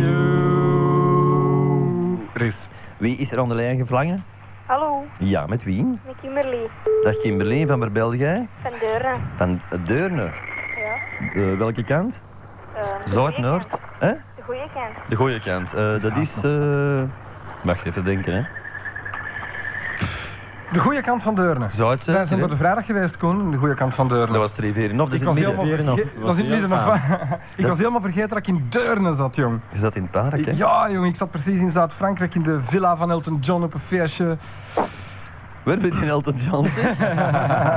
Speaker 4: Joris.
Speaker 1: Wie is er aan de lijn gevlangen?
Speaker 8: Hallo,
Speaker 1: Ja, met wie?
Speaker 8: met Kimberly
Speaker 1: Dag Kimberleen van Berbelgij.
Speaker 8: van Deuren.
Speaker 1: Van Deurne.
Speaker 8: Ja.
Speaker 1: Eh, welke kant?
Speaker 8: eh, de
Speaker 1: Zuid,
Speaker 8: goeie
Speaker 1: Noord?
Speaker 8: kant,
Speaker 1: Hè?
Speaker 8: De goede kant.
Speaker 1: De goede kant. Eh, dat is... eh Wacht even denken, hè.
Speaker 4: De goede kant van Deurne.
Speaker 1: Zuid
Speaker 4: Wij zijn
Speaker 1: hè?
Speaker 4: door de vrijdag geweest, Koen, de goede kant van Deurne.
Speaker 1: Dat was de Riveren. Of dat is
Speaker 4: ik
Speaker 1: in het
Speaker 4: was
Speaker 1: midden.
Speaker 4: helemaal verge-
Speaker 3: Verenhof, was
Speaker 4: dat is in het
Speaker 3: heel
Speaker 4: midden of- Ik
Speaker 1: Dat-
Speaker 4: was helemaal vergeten dat ik in Deurne zat, jong.
Speaker 1: Je zat in het park, hè?
Speaker 4: Ja, jong, ik zat precies in Zuid-Frankrijk in de villa van Elton John op een feestje.
Speaker 1: Waar ben je Elton John? zeg?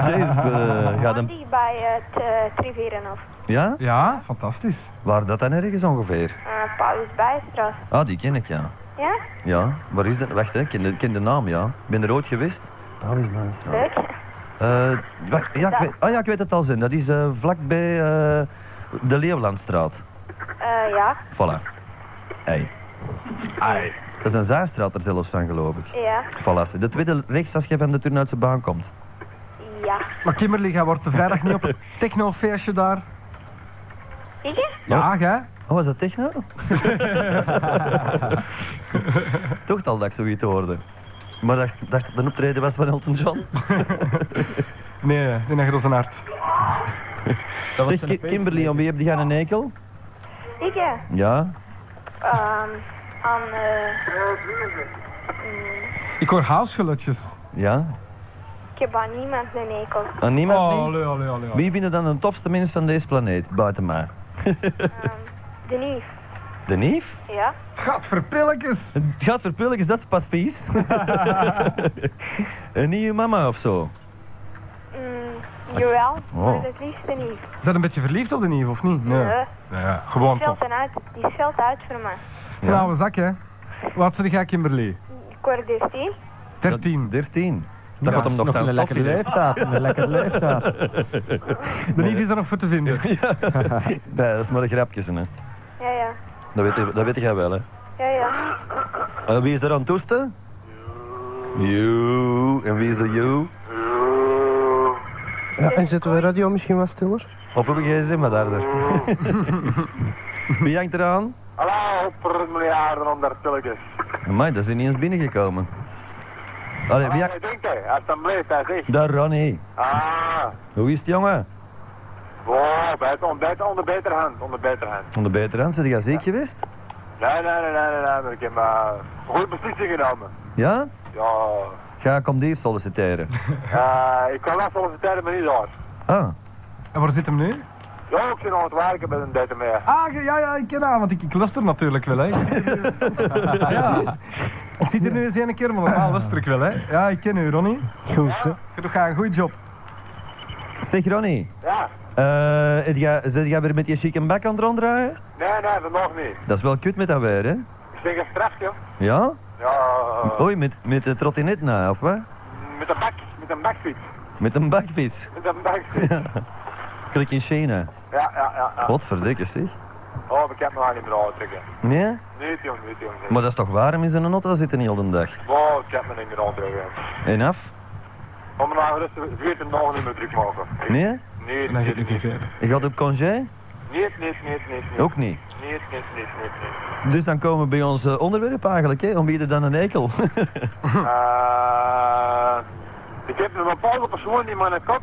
Speaker 1: Jezus, we gaan hem...
Speaker 8: Dicht bij het uh, Triverenhof.
Speaker 1: Ja?
Speaker 4: Ja, fantastisch.
Speaker 1: Waar dat dan ergens ongeveer?
Speaker 8: Uh, Paulus Bijstraat.
Speaker 1: Ah, die ken ik, ja.
Speaker 8: Ja?
Speaker 1: Ja, waar is dat? Wacht, hè. Ik ken de, ik ken de naam, ja. Ik ben er ooit geweest. Paulus Maanstra.
Speaker 8: Leuk.
Speaker 1: Eh wacht, ja, ik weet, oh ja, ik weet het al zijn. Dat is eh, vlakbij eh, de Leeuwlandstraat.
Speaker 8: Eh, ja,
Speaker 1: Voilà. Ei.
Speaker 4: Ai.
Speaker 1: Dat is een zaarstraat er zelfs van, geloof ik.
Speaker 8: ja,
Speaker 1: Voilà. De tweede rechts als je van de Turnhoutse baan komt.
Speaker 8: ja.
Speaker 4: Maar Kimberly, jij wordt de vrijdag niet op het technofeestje daar.
Speaker 8: Zie je?
Speaker 4: Ja, hè?
Speaker 1: Oh, was dat techno? Toch al dat ik zoiets hoorde. Maar dacht, dacht dat het een optreden was van Elton John.
Speaker 4: Nee, die neger is een hart.
Speaker 3: Dat was
Speaker 1: Zeg,
Speaker 3: zijn
Speaker 1: Ki- Kimberly, om wie heb je een eikel?
Speaker 8: Zie je?
Speaker 1: Ja.
Speaker 8: Ehm, aan... eh,
Speaker 4: Ik hoor huisgelutjes.
Speaker 1: Ja?
Speaker 8: Ik heb aan niemand een hekel.
Speaker 1: Aan niemand
Speaker 4: Oh,
Speaker 1: niet?
Speaker 4: allee, allee, allee. allee.
Speaker 1: Wie vinden dan de tofste mens van deze planeet, buiten mij?
Speaker 8: De nieuw.
Speaker 1: De neef?
Speaker 8: Ja?
Speaker 4: Gadverpilletjes.
Speaker 1: Het gaat verpillig, is dat is pas vies. en niet uw mama of zo.
Speaker 8: Mm, jawel, maar
Speaker 1: Oh.
Speaker 8: het liefste niet.
Speaker 4: Zet een beetje verliefd op de nieuw, of niet?
Speaker 8: Eh,
Speaker 4: Ja, gewoon
Speaker 8: Die
Speaker 4: tof.
Speaker 8: scheldt uit, die scheldt uit voor me.
Speaker 4: Het is een oude zak, hè? Wat zeg jij, Kimberly?
Speaker 8: Kwart over tien.
Speaker 4: 13.
Speaker 1: 13.
Speaker 9: Ja,
Speaker 1: Dat gaat hem
Speaker 9: is
Speaker 1: nog
Speaker 9: nog een
Speaker 1: ten
Speaker 9: lekkere
Speaker 1: stof
Speaker 9: leeftijd. Een lekkere leeftijd.
Speaker 4: De lief is er nog voor te vinden.
Speaker 1: Nee, dat is maar een grapje, hè.
Speaker 8: Ja, ja.
Speaker 1: Dat weet, je- dat weet jij wel, hè.
Speaker 8: Ja, ja.
Speaker 1: Eh, wie is er aan het toesten? You. En wie is er you?
Speaker 5: Ja, en zetten we radio misschien wat stiller?
Speaker 1: Of heb jij zin met harder? wie hangt eraan?
Speaker 2: Hallo, per miljarden onder telkens.
Speaker 1: Amai, dat is ineens binnengekomen. Allee, wie hangt...
Speaker 2: denkt hij? Hij is dan blij, hij zegt.
Speaker 1: Daar, Ronnie.
Speaker 2: Ah,
Speaker 1: Hoe is het, jongen?
Speaker 2: wow, buiten, ontbijten onder beter hand, onder beter hand.
Speaker 1: Van de buitenrand, zit je ziek geweest?
Speaker 2: Nee, nee, nee, nee, nee, nee, maar ik heb maar goede beslissing genomen.
Speaker 1: Ja?
Speaker 2: Ja,
Speaker 1: Ga ik om hier solliciteren.
Speaker 2: eh, ik kan wel solliciteren, maar niet daar.
Speaker 1: Ah,
Speaker 4: En waar zit hem nu?
Speaker 2: Ja, ik ben aan het werken met een date mee.
Speaker 4: Ah, ge- ja, ja, ik ken haar, want ik, ik luister natuurlijk wel, hè. Ik zit er nu- ja. Ik zit er nu eens een keer, maar normaal luister ik wel, hè. Ja, ik ken u, Ronnie.
Speaker 5: Goed, hè?
Speaker 4: Je doet graag een goede job.
Speaker 1: zeg Ronnie.
Speaker 2: Ja,
Speaker 1: Eh, het ga- zit jij weer met je chicken bak aan het ronddraaien?
Speaker 2: nee, nee, vandaag niet.
Speaker 1: Dat is wel kut met dat weer, hè?
Speaker 2: Ik denk een straf, joh.
Speaker 1: Ja?
Speaker 2: Ja,
Speaker 1: Oei, met, met de trottinet nou, of wat?
Speaker 2: met een bak, met een bakfiets.
Speaker 1: Met een bakfiets.
Speaker 2: Met een bakfiets.
Speaker 1: Gelijk in China.
Speaker 2: Ja, ja, ja. ja.
Speaker 1: Wat verdikke zeg.
Speaker 2: Oh, ik heb me haar niet meer aantrekken.
Speaker 1: Nee?
Speaker 2: Niet jong, niet jong.
Speaker 1: Maar dat is toch warm in zo'n auto zitten heel de dag?
Speaker 2: Oh, ik heb me niet meer aantrekken.
Speaker 1: En af?
Speaker 2: Om me nou rustig weer te nog niet meer druk maken.
Speaker 1: Nee?
Speaker 2: Nee,
Speaker 4: En dan
Speaker 2: nee, nee,
Speaker 4: geef ik
Speaker 2: nee.
Speaker 4: niet verder.
Speaker 1: Je gaat op congé?
Speaker 2: Nee, nee, nee, nee, nee.
Speaker 1: Ook niet.
Speaker 2: Nee, nee, nee, nee, nee.
Speaker 1: Dus dan komen we bij ons eh, onderwerp eigenlijk, hè? Om wie dan een eikel?
Speaker 2: Eh, Ik heb een bepaalde persoon in mijn kop.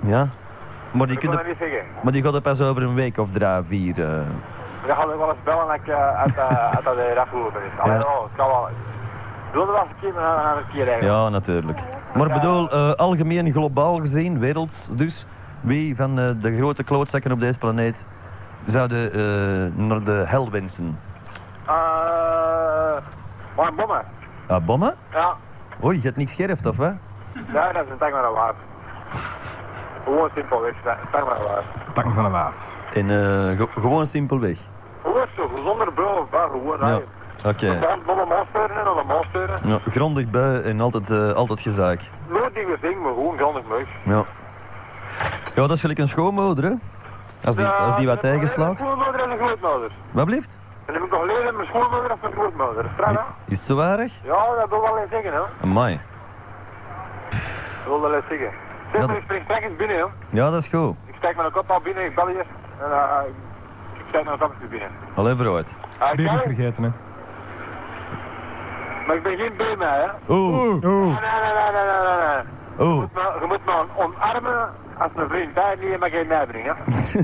Speaker 1: ja. Maar die,
Speaker 2: Ik kan
Speaker 1: kunt
Speaker 2: dat
Speaker 1: er-
Speaker 2: niet zeggen.
Speaker 1: maar die gaat er pas over een week of drie, vier. eh.
Speaker 2: Dan ga ik wel eens bellen als ik eh, uit, eh, uit dat eh, raf gelopen is. Alleen oh, het kan wel. Ik wilde wel eens een keer maar een andere keer eigenlijk.
Speaker 1: Ja, natuurlijk. Maar ik bedoel, eh, algemeen, globaal gezien, werelds dus, wie van eh, de grote klootzakken op deze planeet zouden eh, naar de hel wensen?
Speaker 2: Eh, maar een bommen.
Speaker 1: Ah, bommen?
Speaker 2: Ja,
Speaker 1: Oei, je hebt niks scherft, of wat?
Speaker 2: ja, dat is een tang maar een waard. Gewoon simpelweg, een tang maar een waard.
Speaker 4: Tang van de waaf.
Speaker 1: En eh, ge- gewoon simpelweg.
Speaker 2: Gewoon zo, zonder bril of waar, gewoon.
Speaker 1: Ja.
Speaker 2: Ja.
Speaker 1: Oké.
Speaker 2: Dan bommen maasteuren en dan maasteuren.
Speaker 1: Ja, grondig bui en altijd, eh, altijd gezaak.
Speaker 2: Nooit die ding, maar gewoon grondig meug.
Speaker 1: Ja. Ja, dat is gelijk een schoonmoeder, hè? Als die, als die wat
Speaker 2: Een
Speaker 1: tegenslaagt.
Speaker 2: schoonmoeder en een grootmoeder.
Speaker 1: Wat blieft?
Speaker 2: En dan heb ik nog leren mijn schoonmoeder of mijn grootmoeder. Straf, hè?
Speaker 1: Is het zo waarig?
Speaker 2: Ja, dat wil wel eens zeggen, hè?
Speaker 1: Amai.
Speaker 2: Dat wil wel eens zeggen. Zeg,
Speaker 1: Ja,
Speaker 2: maar
Speaker 1: dat-
Speaker 2: ik spring straks eens binnen, joh.
Speaker 1: Ja, dat is goed.
Speaker 2: Ik steek mijn kop al binnen, ik bel hier. En eh, ik steek mijn kop binnen.
Speaker 1: Al even uit.
Speaker 2: Ah,
Speaker 4: Bier niet
Speaker 2: ik
Speaker 4: vergeten, hè.
Speaker 2: maar ik ben geen bij mij, hè?
Speaker 1: Oeh,
Speaker 2: Nee, nee, nee, nee, nee, nee. nee. Je
Speaker 1: oeh.
Speaker 2: moet me, je moet me omarmen als mijn vriend. Daar niet, je mag geen mij brengen.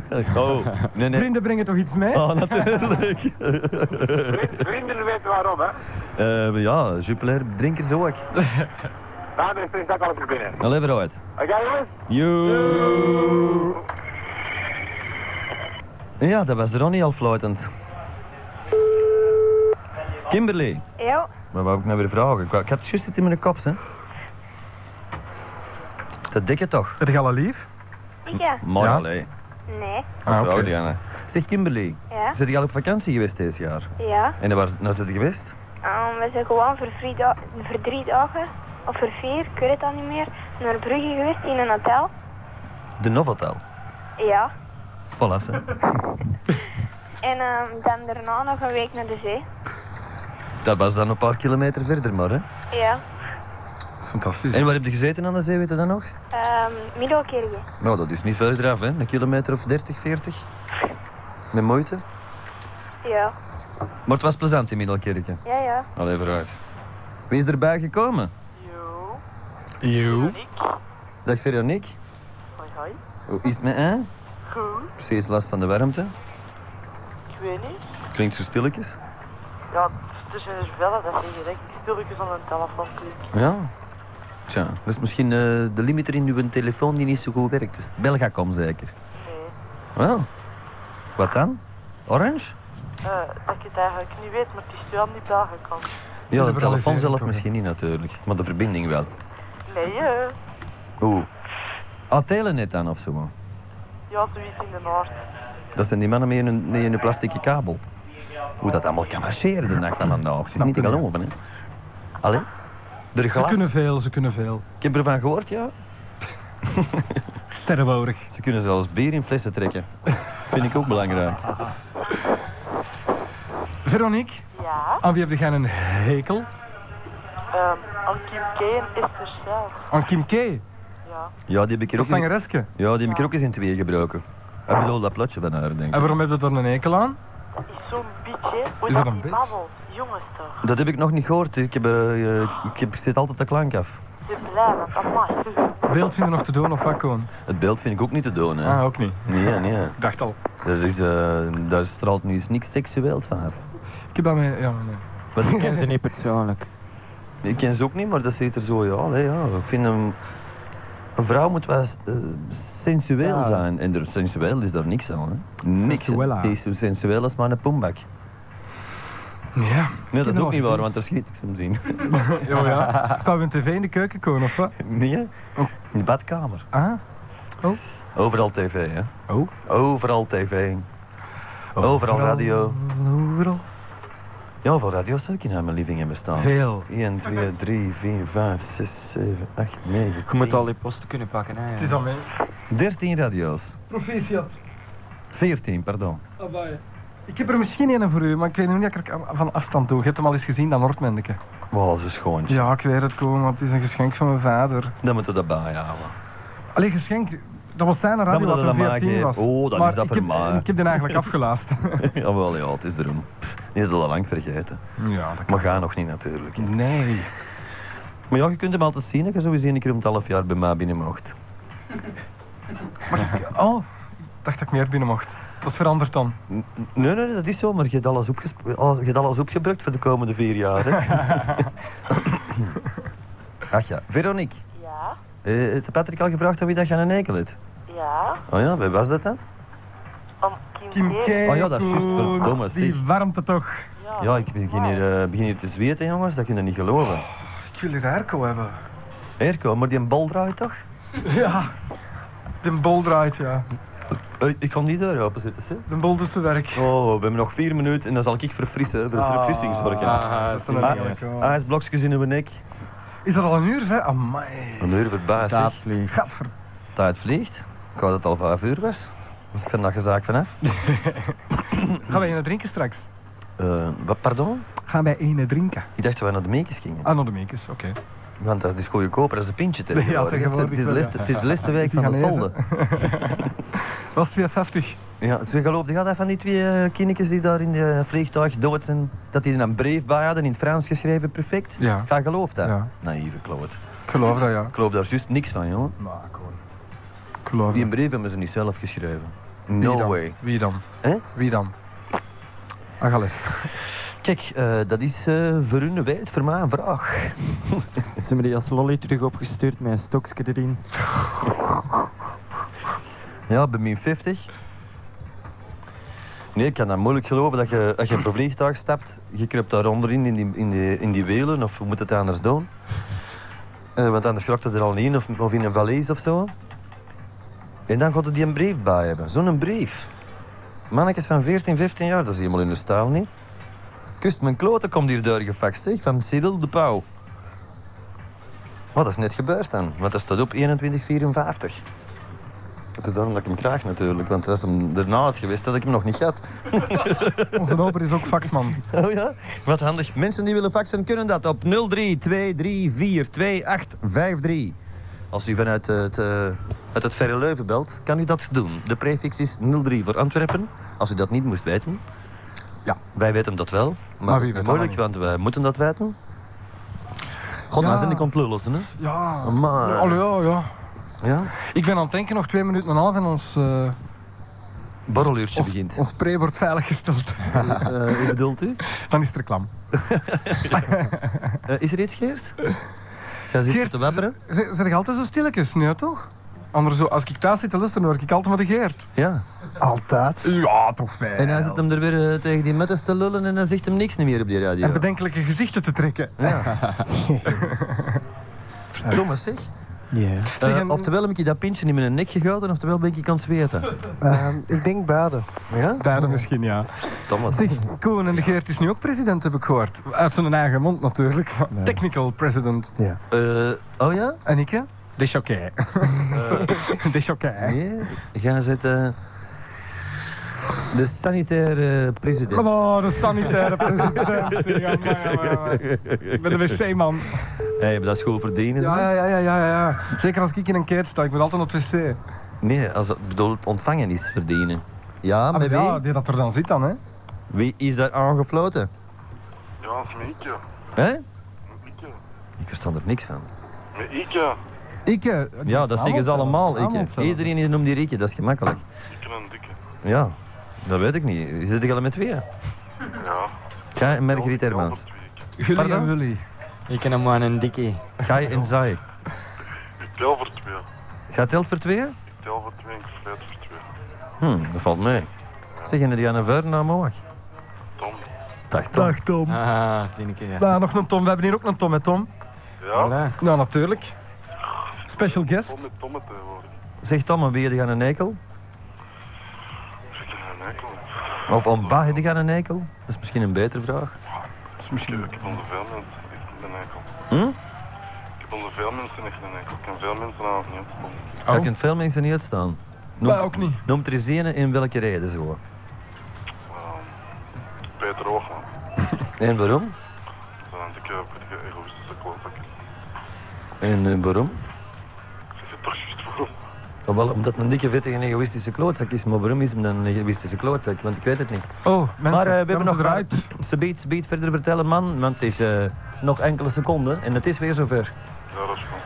Speaker 2: hè.
Speaker 1: Oh, nee, nee.
Speaker 4: Vrienden brengen toch iets mee?
Speaker 1: Oh, natuurlijk.
Speaker 2: Vriend- Vrienden weten waarom, hè?
Speaker 1: Eh, ja, Jupiler, drinkers ook.
Speaker 2: Daarmee spring ik alles binnen.
Speaker 1: Allee, vooruit.
Speaker 2: Oké, jongens?
Speaker 1: Yo. Ja, dat was Ronnie al fluitend. Kimberly,
Speaker 8: Ja,
Speaker 1: wat wou ik nou weer vragen? Ik wou- Ik had het juist iets in mijn kop, hè. Dat dikke toch?
Speaker 4: Heb je al een lief?
Speaker 8: ik ja.
Speaker 1: Mooi,
Speaker 4: Ja.
Speaker 1: allee.
Speaker 8: Nee.
Speaker 4: Ah,
Speaker 1: Vrouw,
Speaker 4: oké.
Speaker 1: Diana. Zeg Kimberly,
Speaker 8: Ja,
Speaker 1: zit je al op vakantie geweest dit jaar?
Speaker 8: ja.
Speaker 1: En waar nou zit je geweest?
Speaker 8: Ehm, we zijn gewoon voor drie, da- voor drie dagen, of voor vier, ik weet het al niet meer, naar Brugge geweest in een hotel.
Speaker 1: De Novotel.
Speaker 8: Ja.
Speaker 1: Voilà, ze.
Speaker 8: En ehm, dan daarna nog een week naar de zee.
Speaker 1: Dat was dan een paar kilometer verder maar, hè.
Speaker 8: Ja.
Speaker 4: Dat is fantastisch.
Speaker 1: En waar heb je gezeten aan de zee, weet je dat nog?
Speaker 8: Um, Middelkerje.
Speaker 1: Nou, dat is niet verder af, hè? Een kilometer of 30, 40. Met moeite.
Speaker 8: Ja.
Speaker 1: Maar het was plezant in Middelkerkje.
Speaker 8: Ja, ja.
Speaker 1: Al even uit. Wie is erbij gekomen?
Speaker 10: Jo.
Speaker 4: Eeuw.
Speaker 1: Dag Veronique.
Speaker 10: Hoi, hoi.
Speaker 1: Hoe is het met hè?
Speaker 10: Goed.
Speaker 1: Precies last van de warmte.
Speaker 10: Ik weet niet.
Speaker 1: Klinkt zo stilletjes.
Speaker 10: Ja, tussen dus bellen, dat zeg je direct. Spulletjes aan een telefoon.
Speaker 1: Ja. Tja, dat is misschien eh, de limiter in uw telefoon die niet zo goed werkt. Dus Belgacom zeker? Wel, wat dan? Orange?
Speaker 11: Eh, dat ik het eigenlijk niet weet, maar het is wel aan die Belgen kan.
Speaker 1: Ja, de
Speaker 4: liberalisering
Speaker 1: telefoon zelf
Speaker 4: toch,
Speaker 1: misschien niet natuurlijk, maar de verbinding wel.
Speaker 11: Nee, hè?
Speaker 1: Oeh. Ah, telenet dan of zo.
Speaker 11: Ja, zoiets in de Noord.
Speaker 1: Dat zijn die mannen met een, met een plastic kabel. Hoe dat allemaal kan marcheren de dag van vandaag. Het is niet te geloven, hè. Allee? Er
Speaker 4: Ze
Speaker 1: glas.
Speaker 4: kunnen veel, ze kunnen veel.
Speaker 1: Ik heb ervan gehoord, ja.
Speaker 4: Sterrenbouwig.
Speaker 1: Ze kunnen zelfs bier in flessen trekken. Vind ik ook belangrijk.
Speaker 4: Veronique,
Speaker 11: Ja,
Speaker 4: aan wie heb jij een hekel?
Speaker 11: Ehm aan Kim K en Esther zelf.
Speaker 4: Aan Kim K,
Speaker 11: Ja.
Speaker 1: Ja, die heb ik er
Speaker 4: dat
Speaker 1: ook, in,
Speaker 4: zangereske.
Speaker 1: ja, die heb ik er ook eens in twee gebroken. Ik bedoel dat platje van haar, denk
Speaker 4: En
Speaker 1: ik.
Speaker 4: waarom heb je daar een hekel aan?
Speaker 11: Dat is zo'n bitch, hè? Hoe
Speaker 4: Is dat een
Speaker 11: die
Speaker 4: bitch?
Speaker 11: babbelt. Jongens toch.
Speaker 1: Dat heb ik nog niet gehoord. Ik, heb, eh, eh, ik, heb- ik zit altijd de klank af.
Speaker 11: Ze blijven, amai.
Speaker 4: Beeld vinden nog te doen of wat gewoon?
Speaker 1: Het beeld vind ik ook niet te doen. Hè.
Speaker 4: Ah, ook niet.
Speaker 1: Nee, nee.
Speaker 4: Ik dacht al.
Speaker 1: Er is, eh, daar straalt nu eens niks seksueels van af.
Speaker 4: Ik heb dat mee, ja, nee.
Speaker 1: Want ik,
Speaker 3: ken ze niet persoonlijk.
Speaker 1: ik ken ze ook niet, maar dat zit er zo, ja, nee, ja. Ik vind hem... Een vrouw moet wel eh, sensueel
Speaker 3: Ja.
Speaker 1: zijn. En er, sensueel is daar niks aan, hè. Niks. hè.
Speaker 4: Sensuela.
Speaker 1: Die is zo sensueel als maar een poembak.
Speaker 4: Ja.
Speaker 1: Nee, dat is
Speaker 4: hem
Speaker 1: ook
Speaker 4: al
Speaker 1: niet waar,
Speaker 4: gezien.
Speaker 1: want daar schiet ik soms in.
Speaker 4: Oh ja. Staan we een tv in de keuken komen of wat?
Speaker 1: Nee, hè? In de badkamer.
Speaker 4: Ah,
Speaker 1: Overal tv, hè?
Speaker 4: Oh.
Speaker 1: Overal tv. Overal radio.
Speaker 4: overal.
Speaker 1: Ja, veel radio's zou ik in mijn living hebben staan.
Speaker 4: Veel.
Speaker 1: 1, 2, 3, 4, 5, 6, 7, 8, 9,
Speaker 3: Je moet al die posten kunnen pakken, hè.
Speaker 4: Het is al mee.
Speaker 1: 13 radio's.
Speaker 4: Proficiat.
Speaker 1: 14, pardon.
Speaker 4: Abai. Ik heb er misschien een voor u, maar ik weet nog niet of ik er van afstand doe. Je hebt hem al eens gezien, dat Noordmendeke.
Speaker 1: Wow, zo schoontje.
Speaker 4: Ja, ik weet het komen, want het is een geschenk van mijn vader.
Speaker 1: Dan moeten we dat bijhouden.
Speaker 4: Allee, geschenk, dat was zijn radio
Speaker 1: moet
Speaker 4: dat
Speaker 1: je dat
Speaker 4: toen
Speaker 1: maken,
Speaker 4: 14
Speaker 1: hè.
Speaker 4: was.
Speaker 1: Oh, dan
Speaker 4: maar
Speaker 1: is dat
Speaker 4: ik heb,
Speaker 1: vermaard.
Speaker 4: Ik heb die eigenlijk afgelaast.
Speaker 1: Jawel, ja, het is erom. Pff, Die is al lang vergeten.
Speaker 4: Ja, dat
Speaker 1: Maar ga nog niet natuurlijk. hè.
Speaker 4: Nee.
Speaker 1: Maar ja, je kunt hem altijd zien. hè. Je sowieso een keer om het half jaar bij mij binnen mocht.
Speaker 4: Oh, ik dacht dat ik meer binnen mocht. Dat is veranderd dan.
Speaker 1: Nee, nee, dat is zo, maar je hebt alles, opgesp- alles- je hebt alles opgebruikt voor de komende vier jaar. Hè? Ach ja, Veronique.
Speaker 11: Ja,
Speaker 1: eh, heeft Patrick al gevraagd aan wie dat je een eikel hebt?
Speaker 11: ja.
Speaker 1: Oh ja, wie was dat dan?
Speaker 11: Aan Kim,
Speaker 4: Kim
Speaker 11: K.
Speaker 4: K.
Speaker 1: Oh ja, dat is juist,
Speaker 4: Koen,
Speaker 1: verdomme,
Speaker 4: Die
Speaker 1: zeg.
Speaker 4: warmte toch.
Speaker 11: Ja,
Speaker 1: Ja, ik begin hier, eh, begin hier te zweten, jongens. Dat kun je niet geloven.
Speaker 4: Ik wil hier airco hebben.
Speaker 1: Erko, maar die bal draait toch?
Speaker 4: Ja. De bol draait, ja.
Speaker 1: Eh, ik kan die deur open zitten, zeg.
Speaker 4: De bol doet zijn werk.
Speaker 1: Oh, we hebben nog vier minuten en dan zal ik verfrissen, voor verfrissing zorgen.
Speaker 4: dat is een
Speaker 1: Ah,
Speaker 4: heerlijke, hoor.
Speaker 1: Ijsblokjes in uw nek.
Speaker 4: Is dat al een uur? Hè? Amai.
Speaker 1: Een uur verbaasd,
Speaker 3: Staat
Speaker 1: zeg.
Speaker 3: vlieg.
Speaker 4: Gadver.
Speaker 1: Tijd vliegt. Ik wou dat het al vijf uur was. Dus ik vind dat gezaak vanaf.
Speaker 4: Gaan wij een drinken straks?
Speaker 1: Eh, wat, pardon?
Speaker 4: Gaan wij een drinken?
Speaker 1: Ik dacht dat we naar de meekjes gingen.
Speaker 4: Ah, nog de meekes, oké.
Speaker 1: Want dat is goedkoper als een pintje
Speaker 4: Ja,
Speaker 1: tegenwoordig.
Speaker 4: tegenwoordig
Speaker 1: het, is de
Speaker 4: wel, ja.
Speaker 1: laatste- het is de laatste week
Speaker 4: Die
Speaker 1: van de
Speaker 4: gaan lezen.
Speaker 1: solde.
Speaker 4: Was 250?
Speaker 1: Ja, ze geloofde gaat dat van die twee eh, kindjes die daar in de vliegtuig dood zijn, dat die er een brief bij hadden, in het Frans geschreven, perfect?
Speaker 4: Ja.
Speaker 1: Ga geloof dat?
Speaker 4: Ja.
Speaker 1: Naïeve kloot. Ik
Speaker 4: Ik geloof dat, ja.
Speaker 1: geloof daar juist niks van, jongen.
Speaker 4: Maar gewoon. Ik geloof
Speaker 1: Die
Speaker 4: dat.
Speaker 1: brief hebben ze niet zelf geschreven.
Speaker 4: Wie
Speaker 1: No
Speaker 4: dan?
Speaker 1: way.
Speaker 4: Wie dan?
Speaker 1: Hè?
Speaker 4: Wie dan? Ah, ga les.
Speaker 1: Kijk, eh, dat is eh, voor hun wijd, voor mij een vraag.
Speaker 3: Ze hebben die als lolly terug opgestuurd met een stokje erin.
Speaker 1: Ja, bij min 50. Nee, ik kan dat moeilijk geloven dat je, als je op een vliegtuig stapt, je kruipt daar onderin in die, in die, in die wielen, of hoe moet het anders doen? Eh, want anders krokt het er al niet in, of, of in een valies of zo. En dan gaat het die een brief bij hebben, zo'n brief. Mannetjes van 14, 15 jaar, dat is helemaal in de staal niet. Kust mijn kloten komt hier doorgefaxt, zeg, van Cyril de Pauw. Wat is net gebeurd dan? Want dat staat op 2154. Het is daarom dat ik hem krijg natuurlijk, want als hem daarna had geweest, had ik hem nog niet gehad.
Speaker 4: Onze loper is ook faxman.
Speaker 1: Oh ja? Wat handig. Mensen die willen faxen kunnen dat op 0323428853. Als u vanuit het, eh, uit het Verre Leuven belt, kan u dat doen. De prefix is 03 voor Antwerpen, als u dat niet moest weten.
Speaker 4: Ja.
Speaker 1: Wij weten dat wel, maar,
Speaker 4: Maar
Speaker 1: dat
Speaker 4: wie
Speaker 1: is
Speaker 4: weet dat
Speaker 1: moeilijk, want wij moeten dat weten. God,
Speaker 4: Ja.
Speaker 1: nou zijn de complot lossen, hè?
Speaker 4: Ja.
Speaker 1: Maar-
Speaker 4: Allee, ja, ja.
Speaker 1: Ja?
Speaker 4: Ik ben aan het denken, nog twee minuten en een half en ons, eh
Speaker 1: Borreluurtje
Speaker 4: ons,
Speaker 1: begint.
Speaker 4: ons pre wordt veiliggesteld.
Speaker 1: Eh, hoe bedoelt u?
Speaker 4: Dan is er klam.
Speaker 1: Eh, is er iets, Geert? Jij zit
Speaker 4: Geert,
Speaker 1: te wepperen?
Speaker 4: Zeg, zeg je altijd zo stilletjes, nee toch? Anders, zo, als ik thuis zit te luisteren, hoor ik altijd met de Geert.
Speaker 1: Ja.
Speaker 5: Altijd.
Speaker 4: Ja, toch fijn.
Speaker 1: En hij zit hem er weer eh, tegen die mutters te lullen en dan zegt hem niks niet meer op die radio.
Speaker 4: En bedenkelijke gezichten te trekken.
Speaker 1: Verdomme zeg.
Speaker 5: Ja.
Speaker 1: Eh,
Speaker 4: Zeg, en-
Speaker 1: oftewel heb ik je dat pintje in mijn nek gegoten, oftewel ben ik je kan zweten.
Speaker 5: Ehm, ik denk beide.
Speaker 1: Ja?
Speaker 4: Beide misschien, ja.
Speaker 1: Thomas.
Speaker 4: Zeg, Koen en de Geert is nu ook president, heb ik gehoord. Uit zijn eigen mond natuurlijk. van
Speaker 5: Nee.
Speaker 4: Technical president.
Speaker 5: Ja.
Speaker 1: Eh, oh ja?
Speaker 4: En ik, hè? De choqué. De choqué.
Speaker 1: Nee, gaan zitten. De sanitaire eh, president.
Speaker 4: Oh, de sanitaire president. zeg, amai, amai, amai. Ik ben de wc-man.
Speaker 1: Hé, maar dat is gewoon verdienen. ze.
Speaker 4: Ja, ja, ja, ja, ja, ja. Zeker als ik in een keet sta, ik ben altijd op het wc.
Speaker 1: Nee, als het bedoeld ontvangen is verdienen. Ja,
Speaker 4: Ah,
Speaker 1: maar wie?
Speaker 4: ja, die dat er dan zit dan, hè?
Speaker 1: Wie is daar aangefloten?
Speaker 6: Ja, dat is met Ikke.
Speaker 1: Hè?
Speaker 6: Ikke.
Speaker 1: Ik verstand er niks van.
Speaker 6: Met Ikke.
Speaker 4: Ik, eh,
Speaker 1: Ja, dat zeggen ze allemaal. Ik,
Speaker 4: Amundsen.
Speaker 1: iedereen is noemt die Rieke, dat is gemakkelijk.
Speaker 6: Ikke en Dikke.
Speaker 1: Ja, dat weet ik niet. Zit ik al met twee?
Speaker 6: Ja.
Speaker 1: Kai en Margriet Hermans.
Speaker 4: Jullie en
Speaker 1: Pardon?
Speaker 4: Willy.
Speaker 3: Ik ken hem maar een dikkie.
Speaker 1: Kai en Zai.
Speaker 6: Ik tel voor twee.
Speaker 1: Gaat telt voor twee?
Speaker 6: Ik tel voor twee en ik sluit voor twee.
Speaker 1: Hm, dat valt mee. Zeg, en die aan een vuur naar Moag?
Speaker 6: Tom.
Speaker 1: Dag toch?
Speaker 4: Dag Tom.
Speaker 3: Ah, zinneke. Ja.
Speaker 4: Nou, nog een Tom. We hebben hier ook een Tom, hè Tom?
Speaker 6: Ja?
Speaker 3: Voilà.
Speaker 4: Nou, natuurlijk. Special
Speaker 6: Tom
Speaker 4: guest.
Speaker 6: met Tom het tegenwoordig.
Speaker 1: Zeg Tom, en wie die aan een eikel?
Speaker 6: Ik heb een eikel.
Speaker 1: Of om waar die aan een eikel? Dat is misschien een betere vraag.
Speaker 6: Ik heb onder veel mensen echt een eikel.
Speaker 1: Hm?
Speaker 6: Ik heb onder veel mensen echt een eikel. Ik ken veel mensen aan het niet komen.
Speaker 1: Daar kunnen veel mensen niet uitstaan. Noem,
Speaker 4: Wij ook niet.
Speaker 1: noem er eens ene in welke reden zo.
Speaker 6: Peter Hoogman.
Speaker 1: En waarom?
Speaker 6: Dat zijn een dikke, dikke egoïstische klootzak.
Speaker 1: En eh, waarom?
Speaker 6: Ik zeg het toch juist waarom.
Speaker 1: Oh, Wel, omdat het een dikke, vettige, egoïstische klootzak is. Maar waarom is hem dan een egoïstische klootzak? Want ik weet het niet.
Speaker 4: Oh, mensen.
Speaker 1: maar eh, we
Speaker 4: jij
Speaker 1: hebben
Speaker 4: moet
Speaker 1: nog
Speaker 4: eruit.
Speaker 1: Ze biedt, ze biedt verder vertellen, man. Want het is eh, nog enkele seconden en het is weer zover.
Speaker 6: Ja, dat is van.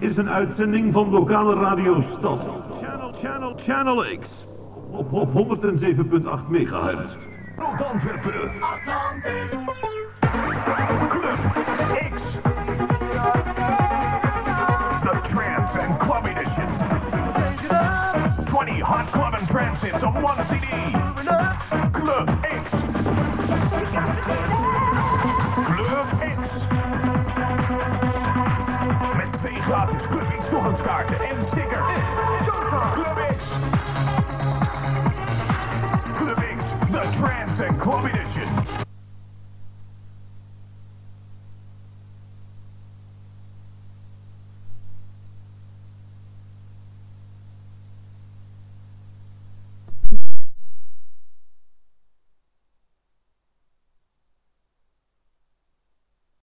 Speaker 12: Dit is een uitzending van lokale radio Stad. Channel, channel, channel X. Op, op 107.8 megahertz. Rood Antwerpen. Atlantis. Club X. The Trance and Club Edition. 20 hot club and trance hits on one CD. Club X. Club X. Met twee gratis clubingstoegangskaarten en sticker.